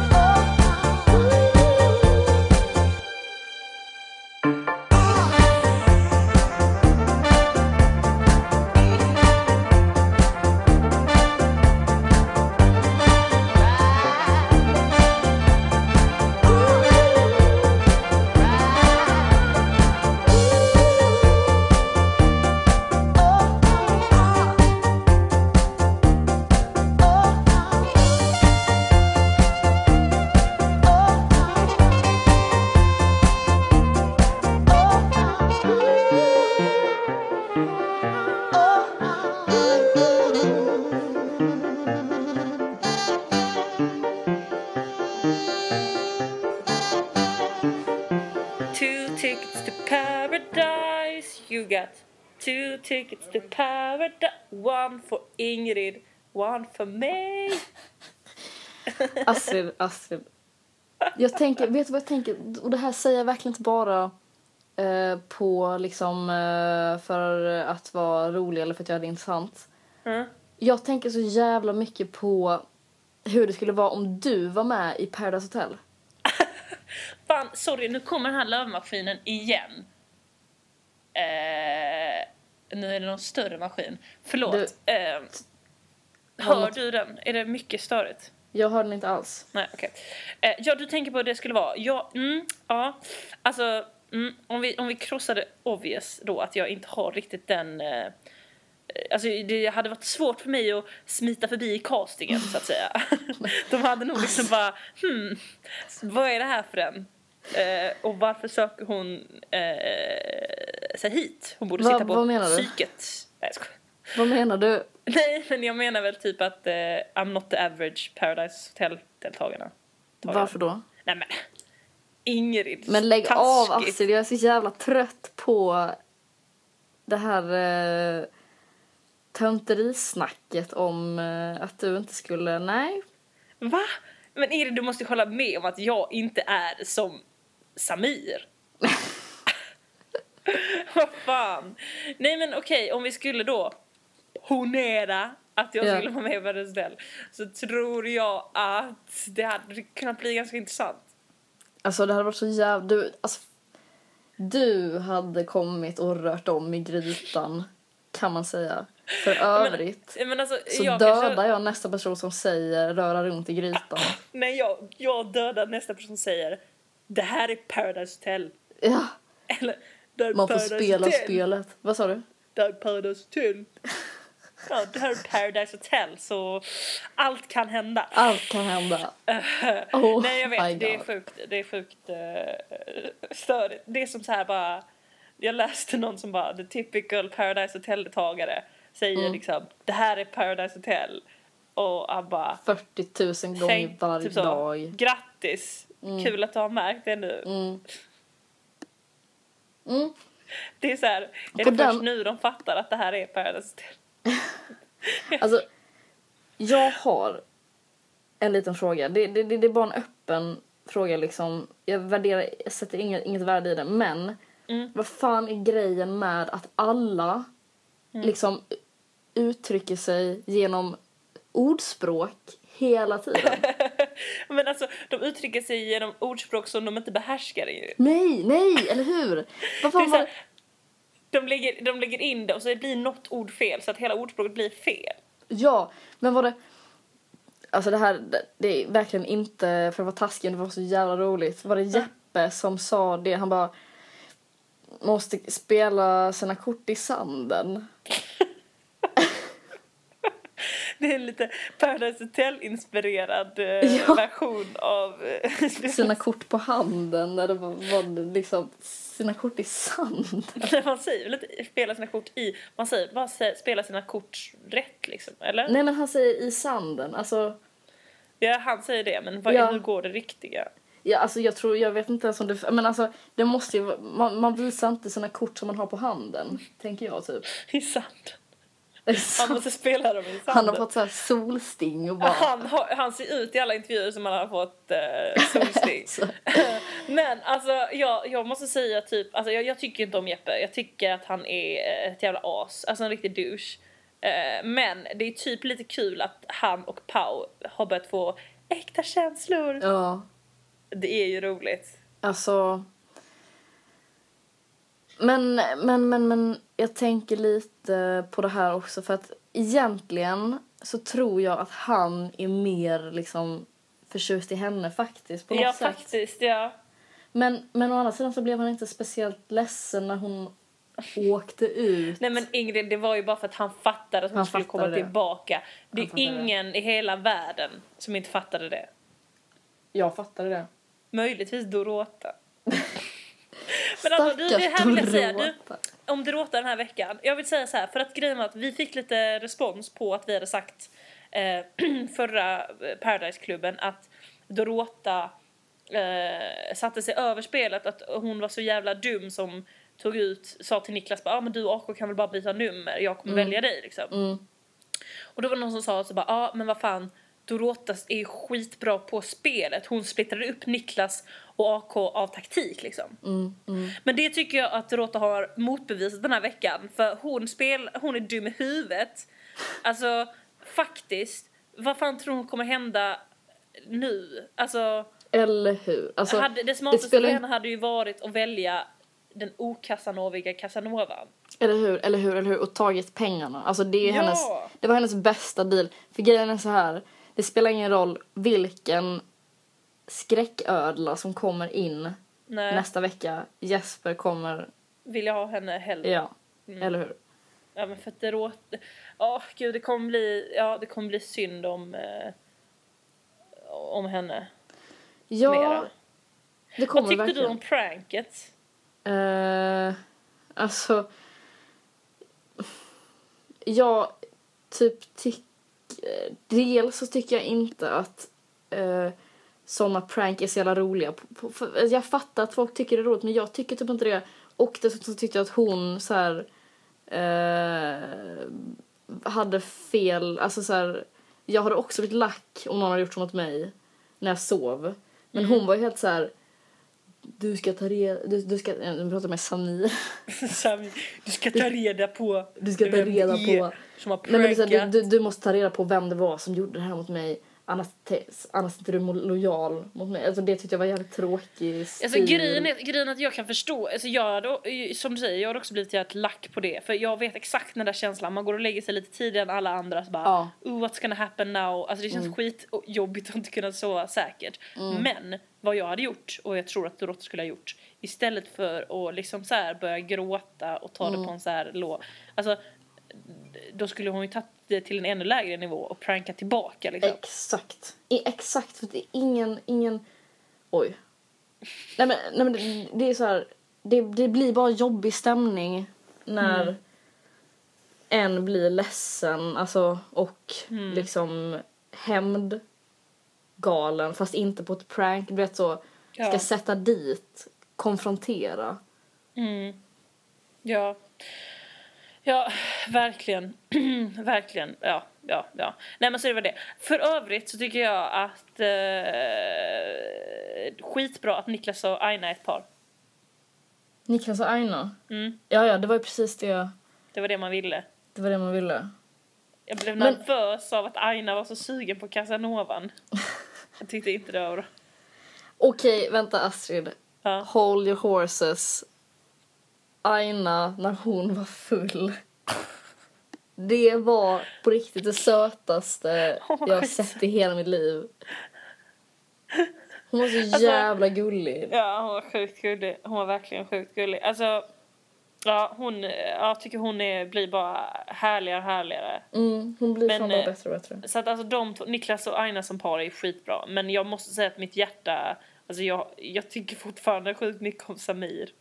Speaker 3: Oh, oh,
Speaker 2: tickets to paradise. You got two tickets to paradise. One for Ingrid, one for me.
Speaker 1: Astrid, Astrid. Jag tänker, vet du vad jag tänker? Och det här säger jag verkligen inte bara eh, på liksom eh, för att vara rolig eller för att göra det intressant.
Speaker 2: Mm.
Speaker 1: Jag tänker så jävla mycket på hur det skulle vara om du var med i Paradise Hotel.
Speaker 2: Fan, sorry, nu kommer den här lövmaskinen igen. Eh, nu är det någon större maskin. Förlåt. eh, hör du den? Är det mycket störigt?
Speaker 1: Jag hör den inte alls.
Speaker 2: Nej, okej. Eh, ja, du tänker på hur det skulle vara. Ja, mm, ja. Alltså, mm, om, vi, om vi krossade obvious då, att jag inte har riktigt den... Eh, alltså, det hade varit svårt för mig att smita förbi i castingen, så att säga. De hade nog liksom bara, hmm, vad är det här för en? Eh, och varför söker hon eh, sig hit? Hon borde
Speaker 1: Vad-
Speaker 2: sitta på
Speaker 1: vad menar du?
Speaker 2: psyket. Nej, jag skojar.
Speaker 1: Vad menar du?
Speaker 2: Nej, men jag menar väl typ att eh, I'm not the average Paradise Hotel-deltagarna.
Speaker 1: Varför då?
Speaker 2: Nej men. Ingrid.
Speaker 1: Men lägg av alltså.
Speaker 2: taskigt.
Speaker 1: Astrid, jag är så jävla trött på det här eh, tönterisnacket om eh, att du inte skulle... Nej.
Speaker 2: Va? Men Ingrid, du måste ju hålla med om att jag inte är som Samir. Vad fan. Nej men okej, om vi skulle då honera att jag
Speaker 1: Ja.
Speaker 2: skulle vara med i Paradise Hotel så tror jag att det hade kunnat bli ganska intressant.
Speaker 1: Alltså det hade varit så jävla... Du, alltså, du hade kommit och rört om i grytan, kan man säga. För övrigt
Speaker 2: Men alltså,
Speaker 1: så
Speaker 2: jag
Speaker 1: dödar
Speaker 2: kanske-
Speaker 1: jag nästa person som säger röra runt i grytan.
Speaker 2: Nej, jag, jag dödar nästa person som säger det här är Paradise Hotel.
Speaker 1: Ja,
Speaker 2: Eller det här är
Speaker 1: man får
Speaker 2: Paradise
Speaker 1: spela
Speaker 2: Hotel.
Speaker 1: spelet. Vad sa du?
Speaker 2: Det här är Paradise Hotel. Ja, det här är Paradise Hotel så allt kan hända.
Speaker 1: Allt kan hända. Ah, Oh
Speaker 2: Nej jag
Speaker 1: my
Speaker 2: vet, det är
Speaker 1: God.
Speaker 2: sjukt, det är sjukt eh, störigt. Det är som så här bara, jag läste någon som bara the typical Paradise Hotel-deltagare säger
Speaker 1: Mm.
Speaker 2: liksom det här är Paradise Hotel och han bara
Speaker 1: 40 000 gånger
Speaker 2: Tänk,
Speaker 1: varje
Speaker 2: typ så,
Speaker 1: dag.
Speaker 2: Grattis! Kul att du har märkt det nu.
Speaker 1: Mm.
Speaker 2: Det är så här, är
Speaker 1: På
Speaker 2: det
Speaker 1: den-
Speaker 2: först nu de fattar att det här är Paradise Hotel?
Speaker 1: Alltså, jag har en liten fråga. Det, det, det, det är bara en öppen fråga. Liksom. Jag, värderar, jag sätter inget, inget värde i det. Men
Speaker 2: Mm.
Speaker 1: vad fan är grejen med att alla
Speaker 2: Mm.
Speaker 1: liksom uttrycker sig genom ordspråk hela tiden?
Speaker 2: Men alltså, de uttrycker sig genom ordspråk som de inte behärskar. ju.
Speaker 1: nej, nej, eller hur? Vad
Speaker 2: Det är
Speaker 1: fan
Speaker 2: så
Speaker 1: var
Speaker 2: här, de, lägger, de lägger in det och så det blir något ord fel så att hela ordspråket blir fel.
Speaker 1: Ja, men var det... Alltså det här, det- det är verkligen inte för att vara taskig, men det var så jävla roligt. Var det Jeppe som sa det? Han bara... Måste spela sina kort i sanden.
Speaker 2: Det är en lite Paradise Hotel-inspirerad eh,
Speaker 1: Ja.
Speaker 2: version av... eh,
Speaker 1: Sina kort på handen, eller vad vad det liksom... Sina kort i sanden.
Speaker 2: när man säger väl inte spela sina kort i... Man säger bara sä- spela sina kort rätt liksom, eller?
Speaker 1: Nej, men han säger i sanden. Alltså,
Speaker 2: Ja, han säger det, men vad,
Speaker 1: Ja.
Speaker 2: hur går det riktiga?
Speaker 1: ja, alltså jag tror... Jag vet inte ens om det... Men alltså, det måste ju... vara- Man, man visar inte sina kort som man har på handen, tänker jag typ.
Speaker 2: I sanden. Han måste spela dem i sanden.
Speaker 1: Han har fått så här solsting och bara...
Speaker 2: Han, har, han ser ut i alla intervjuer som han har fått eh, solsting.
Speaker 1: Så.
Speaker 2: Men alltså jag, jag måste säga typ, alltså jag, jag tycker inte om Jeppe. Jag tycker att han är eh, ett jävla as, alltså en riktig douche. Eh, men det är typ lite kul att han och Pau har börjat få äkta känslor.
Speaker 1: Ja.
Speaker 2: Det är ju roligt.
Speaker 1: Alltså... Men, men, men, men jag tänker lite på det här också för att egentligen så tror jag att han är mer liksom förtjust i henne faktiskt på något
Speaker 2: Ja
Speaker 1: sätt.
Speaker 2: faktiskt, ja.
Speaker 1: Men, men å andra sidan så blev han inte speciellt ledsen när hon åkte ut.
Speaker 2: Nej men Ingrid, det var ju bara för att han fattade att hon
Speaker 1: Han
Speaker 2: skulle komma
Speaker 1: fattade det.
Speaker 2: tillbaka. Det
Speaker 1: Han
Speaker 2: är
Speaker 1: fattade det.
Speaker 2: ingen i hela världen som inte fattade det.
Speaker 1: Jag fattade det.
Speaker 2: Möjligtvis Dorota. Men alltså, du, det
Speaker 1: Stackars
Speaker 2: här vill jag säga. Du,
Speaker 1: Dorota.
Speaker 2: om Dorota den här veckan. Jag vill säga så här, för att grejen var att vi fick lite respons på att vi hade eh, sagt eh, förra Paradise-klubben att Dorota eh, satte sig över spelet att hon var så jävla dum som tog ut, sa till Niklas bara, ah, men du och AK kan väl bara byta nummer, jag kommer
Speaker 1: Mm.
Speaker 2: välja dig liksom. Och då var det någon som sa så bara, ja ah, men vad fan Dorota är skitbra på spelet. Hon splittrade upp Niklas och AK av taktik liksom.
Speaker 1: Mm,
Speaker 2: Men det tycker jag att Dorota har motbevisat den här veckan. För hon, spel, hon är dum i huvudet. Alltså faktiskt, vad fan tror hon kommer hända nu? Alltså,
Speaker 1: Eller hur? Alltså,
Speaker 2: hade, det
Speaker 1: det
Speaker 2: smartaste för
Speaker 1: spelar ju-
Speaker 2: henne hade ju varit att välja den okasanoviga Casanovan.
Speaker 1: Eller hur, eller hur, eller hur. Och tagit pengarna. Alltså det, är
Speaker 2: Ja.
Speaker 1: hennes, det var hennes bästa deal. För grejen är så här. Det spelar ingen roll vilken skräcködla som kommer in
Speaker 2: Nej,
Speaker 1: nästa vecka. Jesper kommer,
Speaker 2: vill jag ha henne hellre.
Speaker 1: ja.
Speaker 2: Mm.
Speaker 1: Eller hur?
Speaker 2: Ja men för att det råter... Ja gud det kommer bli, ja, det kommer bli synd om, eh, om henne.
Speaker 1: Ja,
Speaker 2: Mera.
Speaker 1: det
Speaker 2: Vad
Speaker 1: kommer
Speaker 2: tyckte
Speaker 1: verkligen.
Speaker 2: du om pranket?
Speaker 1: Eh, alltså... Jag typ tycker... Dels så tycker jag inte att uh, såna prank är så jävla roliga. På, på, för, alltså, jag fattar att folk tycker det är roligt, men jag tycker typ inte det. Och dessutom så tyckte jag att hon så här... eh, hade fel, alltså så här, jag hade också blivit lack om någon hade gjort så mot mig när jag sov. Men hon var ju helt så här du ska ta reda, du, du ska, eh, nu pratar jag med Samir.
Speaker 2: Sami, du ska ta reda på
Speaker 1: Du ska ta
Speaker 2: vem det
Speaker 1: reda
Speaker 2: är
Speaker 1: på-
Speaker 2: som har
Speaker 1: Nej, men
Speaker 2: prankat.
Speaker 1: liksom, du, du, du måste ta reda på vem det var som gjorde det här mot mig. Annars, te, annars är inte du mo- lojal mot mig. Alltså, det tyckte jag var jävligt tråkig stil.
Speaker 2: Alltså grejen är, grejen är att jag kan förstå, alltså jag hade, som du säger, jag har också blivit jävligt lack på det. För jag vet exakt den där känslan, man går och lägger sig lite tidigare än alla andra så bara,
Speaker 1: Ja. Mm.
Speaker 2: oh what's gonna happen now? Alltså det känns skitjobbigt att inte kunna sova säkert. Men vad jag hade gjort, och jag tror att Dorothy skulle ha gjort, istället för att liksom så här börja gråta och ta
Speaker 1: Mm.
Speaker 2: det på en så här låg, alltså då skulle hon ju tagit det till en ännu lägre nivå och pranka tillbaka liksom.
Speaker 1: Exakt. I, exakt, för det är ingen, ingen... Oj. Nej men, nej, men det, det är så här, det, det blir bara jobbig stämning när en blir ledsen alltså, och liksom hämnd galen fast inte på ett prank. Du vet så, ska
Speaker 2: Ja.
Speaker 1: sätta dit, konfrontera.
Speaker 2: Mm. Ja. Ja, verkligen. verkligen. Ja, ja, ja. Nej, men så det var det. För övrigt så tycker jag att... Eh, skitbra att Niklas och Aina är ett par.
Speaker 1: Niklas och Aina.
Speaker 2: Mm.
Speaker 1: Ja, ja, det var ju precis det,
Speaker 2: Det var det man ville.
Speaker 1: det, var det man ville.
Speaker 2: Jag blev
Speaker 1: Men-
Speaker 2: nervös av att Aina var så sugen på Casanovan. jag tyckte inte det var bra.
Speaker 1: Okej, vänta Astrid.
Speaker 2: Ja.
Speaker 1: Hold your horses. Aina, när hon var full. Det var på riktigt det sötaste
Speaker 2: Åh,
Speaker 1: jag har
Speaker 2: skit.
Speaker 1: sett i hela mitt liv. Hon var så
Speaker 2: Alltså-
Speaker 1: jävla gullig.
Speaker 2: Ja, hon var sjukt gullig. Hon var verkligen sjukt gullig. Alltså, ja, hon, jag tycker hon är, blir bara härligare och härligare.
Speaker 1: Mm, hon blir
Speaker 2: Men,
Speaker 1: fan bara
Speaker 2: eh,
Speaker 1: bättre och bättre.
Speaker 2: Så att alltså de två, Niklas och Aina som par är skitbra. Men jag måste säga att mitt hjärta, alltså jag, jag tycker fortfarande sjukt mycket om Samir.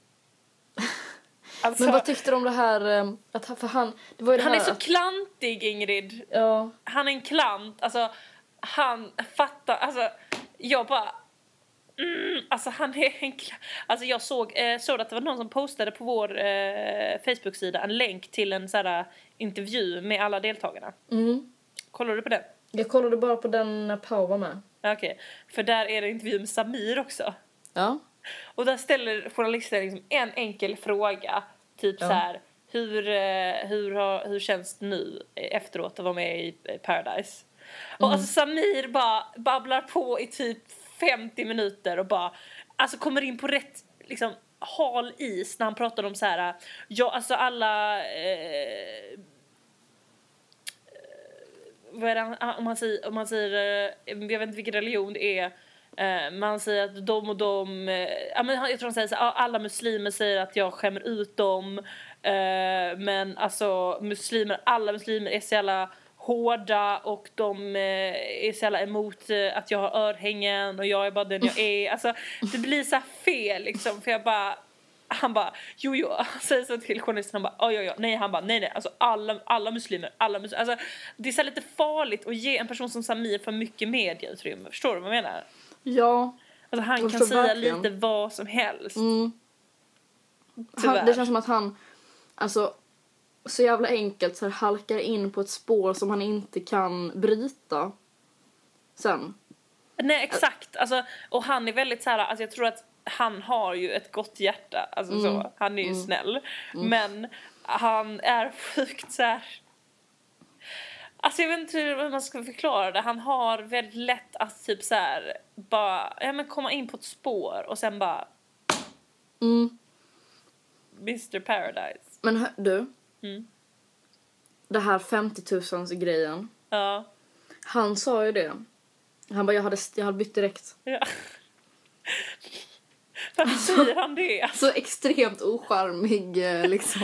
Speaker 2: Alltså,
Speaker 1: Men vad tyckte du om det här? eh, Att, han- för han, det var ju det
Speaker 2: han
Speaker 1: här
Speaker 2: är så
Speaker 1: att,
Speaker 2: klantig Ingrid.
Speaker 1: ja,
Speaker 2: Han är en klant. Alltså han fattar, alltså jag bara Mm, alltså han är en kla- Alltså jag såg, eh, såg att det var någon som postade på vår eh, Facebook-sida en länk till en sån här intervju med alla deltagarna.
Speaker 1: mm.
Speaker 2: Kollar du på den?
Speaker 1: Jag kollade bara på den när Pau var med.
Speaker 2: Ja, Okej, för där är det intervju med Samir också.
Speaker 1: Ja.
Speaker 2: Och där ställer journalisten liksom en enkel fråga. Typ
Speaker 1: Ja.
Speaker 2: så här. Hur, eh, hur, har, hur känns det nu eh, efteråt att vara med i eh, Paradise? Och alltså Samir bara babblar på i typ 50 minuter och bara alltså kommer in på rätt liksom hal is när han pratar om så här ja alltså alla eh, vad är det, han- om, man säger, om man säger, eh, jag vet inte vilken religion det är, eh, man säger att de och de, eh, ja, men han- jag tror han säger så, här, "Ja, alla muslimer säger att jag skämmer ut dem, eh, men alltså muslimer, alla muslimer är så jävla hårda och de eh, är så jävla emot eh, att jag har örhängen och jag är bara den jag är. Alltså det blir så här fel liksom för jag bara han bara, jo jo, han säger så till journalisten, han bara, oj oj oj, nej, han bara, nej nej, alltså alla, alla muslimer, alla muslimer, alltså det är så här lite farligt att ge en person som Samir för mycket medieutrymme, förstår du vad jag menar?
Speaker 1: Ja.
Speaker 2: Alltså han
Speaker 1: Alltså,
Speaker 2: kan säga
Speaker 1: verkligen.
Speaker 2: lite vad som helst.
Speaker 1: Mm.
Speaker 2: Tyvärr.
Speaker 1: Han, det känns som att han, alltså, så jävla enkelt så här, halkar in på ett spår som han inte kan bryta sen.
Speaker 2: Nej exakt, alltså, och han är väldigt så här, alltså jag tror att han har ju ett gott hjärta, alltså så, han är ju snäll. Men han är sjukt så här. Alltså jag vet inte hur man ska förklara det, han har väldigt lätt att typ så här, bara, ja men komma in på ett spår och sen bara
Speaker 1: Mm.
Speaker 2: Mr Paradise.
Speaker 1: Men hör, du,
Speaker 2: Mm.
Speaker 1: det här 50 000 grejen.
Speaker 2: Ja.
Speaker 1: Han sa ju det. Han bara, jag hade, jag hade bytt direkt.
Speaker 2: ja. Varför säger han det?
Speaker 1: Så extremt ocharmig eh, liksom.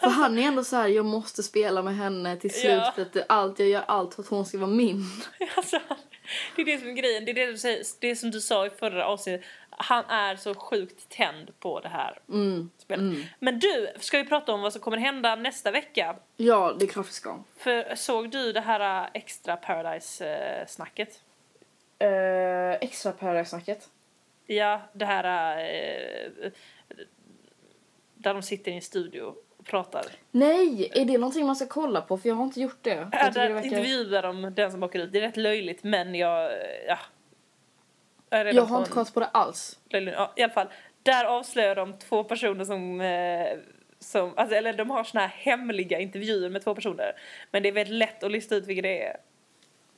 Speaker 1: För han är ändå så här, jag måste spela med henne till slut
Speaker 2: Ja.
Speaker 1: för att det- allt, jag gör allt för att hon ska vara min.
Speaker 2: Alltså, det är det som är grejen. Det är det, du säger, det som du sa i förra avsnittet. Han är så sjukt tänd på det här
Speaker 1: Mm,
Speaker 2: spelet. Men du, ska vi prata om vad som kommer hända nästa vecka?
Speaker 1: Ja, det är klart vi ska.
Speaker 2: För såg du det här äh, extra Paradise-snacket?
Speaker 1: Eh, extra Paradise-snacket.
Speaker 2: Ja, det här... äh, Där de sitter i en studio och pratar.
Speaker 1: Nej, är det någonting man ska kolla på? För jag har inte gjort det. Jag
Speaker 2: Äh,
Speaker 1: tycker
Speaker 2: där
Speaker 1: det verkar...
Speaker 2: intervjuar de den som åker ut. Det är rätt löjligt, men jag... äh, Ja. Jag, är redan
Speaker 1: Jag
Speaker 2: på
Speaker 1: har inte
Speaker 2: en-
Speaker 1: kollat på det alls.
Speaker 2: Löjlig- Ja, i alla fall. Där avslöjar de två personer som... Eh, som alltså, eller de har såna här hemliga intervjuer med två personer. Men det är väldigt lätt att lista ut vilka det är.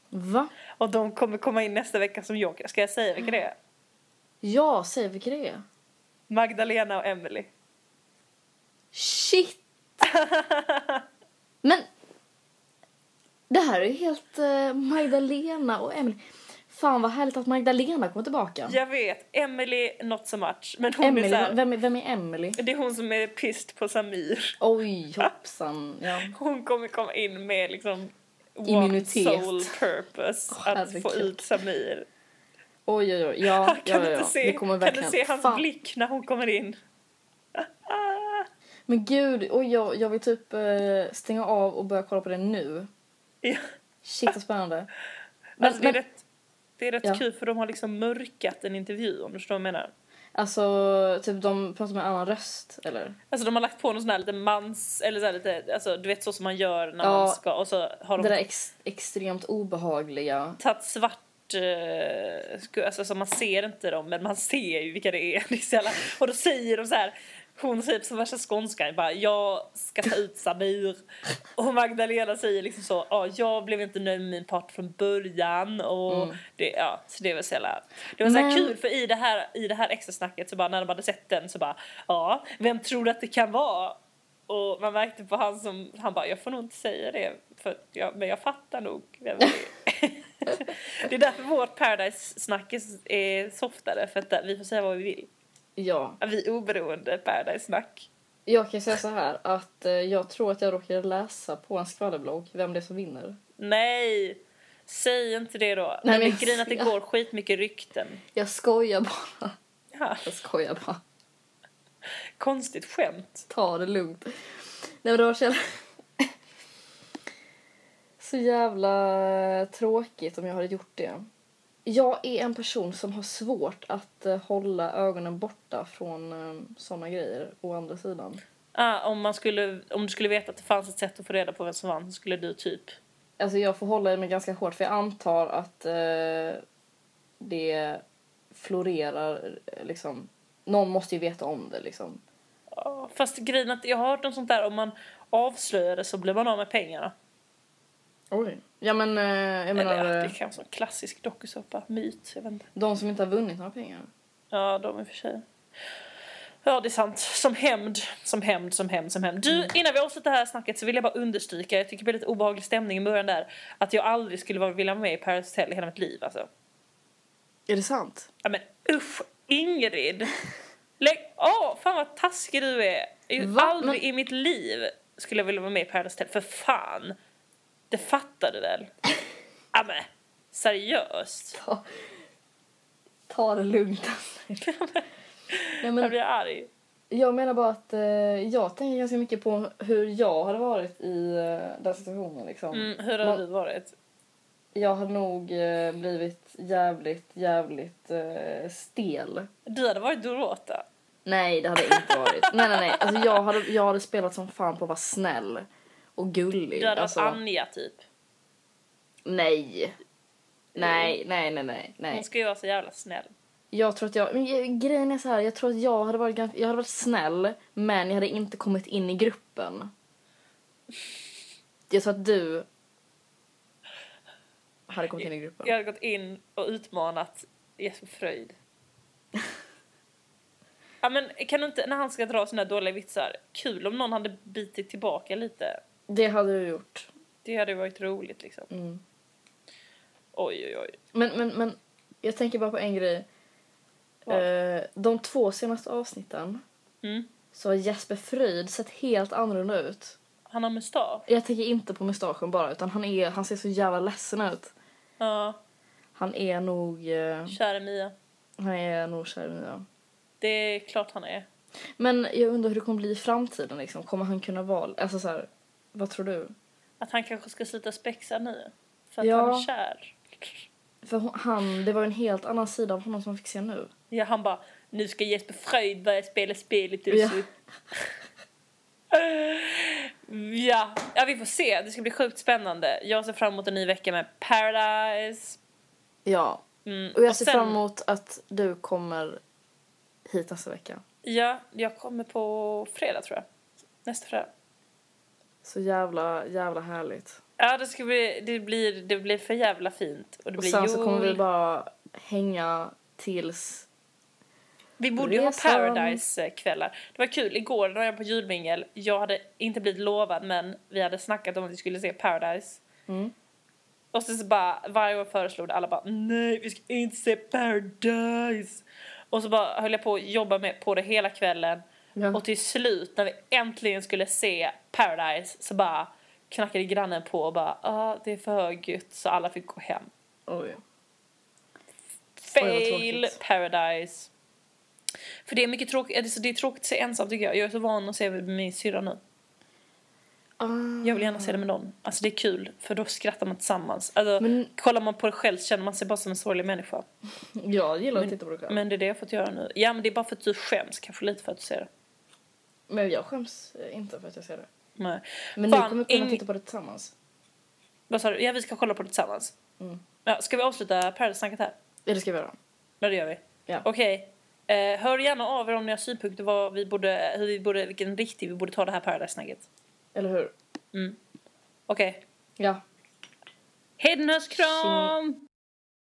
Speaker 1: Va?
Speaker 2: Och de kommer komma in nästa vecka som joker. Ska jag säga vilka det
Speaker 1: Mm.
Speaker 2: är?
Speaker 1: Ja, säg vilka det är.
Speaker 2: Magdalena och Emily.
Speaker 1: Shit! Men det här är ju helt eh, Magdalena och Emily. Fan vad härligt att Magdalena kommer tillbaka.
Speaker 2: Jag vet, Emily not so much. Men hon är
Speaker 1: Emily,
Speaker 2: så här,
Speaker 1: vem, är- vem är Emily?
Speaker 2: Det är hon som är pissed på Samir.
Speaker 1: Oj, hoppsan. Ja.
Speaker 2: Hon kommer komma in med liksom... One
Speaker 1: Immunitet.
Speaker 2: sole purpose.
Speaker 1: Åh,
Speaker 2: att få
Speaker 1: herregud.
Speaker 2: ut Samir.
Speaker 1: Oj, oj, oj. Ja,
Speaker 2: Ah, Kan,
Speaker 1: ja,
Speaker 2: du
Speaker 1: ja,
Speaker 2: inte
Speaker 1: ja.
Speaker 2: se,
Speaker 1: Det kommer
Speaker 2: kan du
Speaker 1: verkligen...
Speaker 2: se hans
Speaker 1: Fan.
Speaker 2: blick när hon kommer in?
Speaker 1: Men gud, oj, jag, jag vill typ eh, stänga av och börja kolla på det nu.
Speaker 2: Ja.
Speaker 1: Shit vad spännande. Men,
Speaker 2: Alltså, det är
Speaker 1: men,
Speaker 2: rätt, det är rätt
Speaker 1: Ja.
Speaker 2: kul för de har liksom mörkat en intervju om du förstår vad jag menar.
Speaker 1: alltså, typ de pratar med en annan röst, eller?
Speaker 2: Alltså de har lagt på någon sån här lite mans, eller så här lite, alltså du vet så som man gör när
Speaker 1: Ja.
Speaker 2: man ska och så har
Speaker 1: Det där
Speaker 2: de
Speaker 1: ex, extremt obehagliga.
Speaker 2: tagit svart eh, sku- Alltså så man ser inte dem men man ser ju vilka det är. Det är så jävla, och då säger de så här, hon säger som värsta skånskan bara jag ska ta ut Samir. Och Magdalena säger liksom så, ja jag blev inte nöjd med min part från början. Och det, ja, så det var så jävla, det var så här
Speaker 1: Men-
Speaker 2: kul för i det här, i det här extra snacket så bara när de hade sett den så bara ja, vem tror du att det kan vara? Och man märkte på han som, han bara jag får nog inte säga det för att jag, men jag fattar nog vem det är. det är därför vårt Paradise-snack är, är softare för att där, vi får säga vad vi vill.
Speaker 1: Ja.
Speaker 2: Vi är oberoende Paradise-snack.
Speaker 1: Jag kan ju säga så här att eh, jag tror att jag råkade läsa på en skvallerblogg vem det är som vinner.
Speaker 2: Nej! Säg inte det då.
Speaker 1: Nej,
Speaker 2: men
Speaker 1: men-
Speaker 2: grejen är att det går skitmycket rykten.
Speaker 1: Jag skojar bara.
Speaker 2: Ja,
Speaker 1: Jag skojar bara.
Speaker 2: konstigt skämt.
Speaker 1: Ta det lugnt. Nej men det var så jävla... så jävla eh, tråkigt om jag hade gjort det. Jag är en person som har svårt att eh, hålla ögonen borta från eh, såna grejer, å andra sidan.
Speaker 2: Ah, om, man skulle, om du skulle veta att det fanns ett sätt att få reda på vem som vann så skulle du typ...
Speaker 1: Alltså jag får hålla i mig ganska hårt för jag antar att eh, det florerar eh, liksom. Någon måste ju veta om det liksom.
Speaker 2: Ja, Fast grejen är att jag har hört om sånt där om man avslöjar det så blir man av med pengarna.
Speaker 1: Oj. Ja men eh, jag menar
Speaker 2: Eller ja, det
Speaker 1: eh,
Speaker 2: är kanske en klassisk dokusåpa, myt, jag vet inte.
Speaker 1: de som inte har vunnit några pengar.
Speaker 2: Ja, de i och för sig. Ja, det är sant. Som hämnd, som hämnd, som hämnd, som hämnd.
Speaker 1: Mm.
Speaker 2: Du, innan vi avslutar det här snacket så vill jag bara understryka, jag tycker det blir lite obehaglig stämning i början där, att jag aldrig skulle vara- vilja vara med i Paradise Hotel i hela mitt liv alltså.
Speaker 1: Är det sant?
Speaker 2: Ja men usch, Ingrid! Lägg av! Fan vad taskig du är! Jag-
Speaker 1: Va?
Speaker 2: Aldrig
Speaker 1: Men-
Speaker 2: i mitt liv skulle jag vilja vara med i Paradise Hotel, för fan! Det fattar du väl? ja men, seriöst?
Speaker 1: Ta, ta det lugnt alltså. Nej,
Speaker 2: Jag
Speaker 1: men
Speaker 2: blir arg.
Speaker 1: jag menar bara att eh, jag tänker ganska mycket på hur jag hade varit i eh, den situationen liksom.
Speaker 2: Mm, hur har
Speaker 1: Man-
Speaker 2: du varit?
Speaker 1: Jag har nog eh, blivit jävligt, jävligt eh, stel.
Speaker 2: Du hade varit Dorota.
Speaker 1: Nej, det hade jag inte varit. nej, nej, nej. Alltså, jag, hade, jag hade spelat som fan på att vara snäll och gullig.
Speaker 2: Du hade
Speaker 1: alltså,
Speaker 2: varit Anja typ.
Speaker 1: nej.
Speaker 2: Mm.
Speaker 1: Nej, nej, nej, nej,
Speaker 2: Hon
Speaker 1: nej.
Speaker 2: ska ju vara så jävla snäll.
Speaker 1: Jag tror att jag... Men jag- grejen är så här, jag tror att jag hade varit, ganska, jag hade varit snäll men jag hade inte kommit in i gruppen. Jag tror att du hade kommit in i gruppen.
Speaker 2: Jag hade gått in och utmanat Jesper Fröjd. ja men kan du inte, när han ska dra sina dåliga vitsar, kul om någon hade bitit tillbaka lite.
Speaker 1: Det hade du gjort.
Speaker 2: Det hade ju varit roligt liksom.
Speaker 1: Mm.
Speaker 2: Oj oj oj.
Speaker 1: Men, men, men jag tänker bara på en grej.
Speaker 2: Vad?
Speaker 1: Eh, de två senaste avsnitten
Speaker 2: Mm.
Speaker 1: så har Jesper Fryd sett helt annorlunda ut.
Speaker 2: Han har mustasch.
Speaker 1: Jag tänker inte på mustaschen bara utan han, är, han ser så jävla ledsen ut.
Speaker 2: Ja,
Speaker 1: Han är nog, eh,
Speaker 2: kära Mia.
Speaker 1: han är nog kär i Mia.
Speaker 2: Det är klart han är.
Speaker 1: Men jag undrar hur det kommer bli i framtiden liksom. Kommer han kunna vara, alltså så här, vad tror du?
Speaker 2: Att han kanske ska sluta spexa nu. För att
Speaker 1: Ja.
Speaker 2: han är kär.
Speaker 1: För hon- han, det var ju en helt annan sida av honom som man fick se nu.
Speaker 2: Ja, han bara, nu ska Jesper Fröjd börja spela spelet
Speaker 1: Ja.
Speaker 2: Usu. ja. ja, vi får se. Det ska bli sjukt spännande. Jag ser fram emot en ny vecka med Paradise.
Speaker 1: Ja.
Speaker 2: Mm.
Speaker 1: Och jag ser
Speaker 2: sen-
Speaker 1: fram emot att du kommer hit nästa vecka.
Speaker 2: Ja, jag kommer på fredag tror jag. Nästa fredag.
Speaker 1: Så jävla, jävla härligt.
Speaker 2: Ja, det ska bli, det blir, det blir för jävla fint. Och det
Speaker 1: Och
Speaker 2: blir
Speaker 1: sen
Speaker 2: jul.
Speaker 1: så kommer vi bara hänga tills...
Speaker 2: Vi borde ju ha
Speaker 1: Resan.
Speaker 2: Paradise-kvällar. Det var kul, igår när jag var på julmingel, jag hade inte blivit lovad men vi hade snackat om att vi skulle se Paradise.
Speaker 1: Mm.
Speaker 2: Och sen så bara, varje gång föreslog det, alla bara nej vi ska inte se Paradise. Och så bara höll jag på att jobba med på det hela kvällen.
Speaker 1: Ja.
Speaker 2: Och till slut när vi äntligen skulle se Paradise så bara knackade grannen på och bara ah, det är för högljutt så alla fick gå hem.
Speaker 1: Oj. vad
Speaker 2: Fail
Speaker 1: tråkigt.
Speaker 2: paradise. För det är mycket tråkigt, alltså det är tråkigt att se ensam tycker jag. Jag är så van att se med min syrra nu.
Speaker 1: Ah.
Speaker 2: Jag vill gärna se det med någon. Alltså det är kul för då skrattar man tillsammans. Alltså,
Speaker 1: Men-
Speaker 2: kollar man på det själv känner man sig bara som en sorglig människa.
Speaker 1: Jag gillar att titta på det själv. Men,
Speaker 2: Men det är det jag fått göra nu. Ja men det är bara för att du skäms kanske lite för att du ser det.
Speaker 1: jag skäms eh, inte för att jag ser det.
Speaker 2: Nej.
Speaker 1: Men
Speaker 2: Fan,
Speaker 1: ni kommer kunna
Speaker 2: ing-
Speaker 1: titta på det tillsammans.
Speaker 2: Vad sa du? Ja vi ska kolla på det tillsammans.
Speaker 1: Mm.
Speaker 2: Ja, ska vi avsluta Paradise-snacket här?
Speaker 1: Ja, det ska vi göra.
Speaker 2: Ja det gör vi.
Speaker 1: Ja.
Speaker 2: Okej. Eh, hör gärna av er om ni har synpunkter vad vi borde, hur vi borde, vilken riktning vi borde ta det här Paradise-snacket.
Speaker 1: Eller hur?
Speaker 2: Okej.
Speaker 1: Ja.
Speaker 2: Hedenhös kram!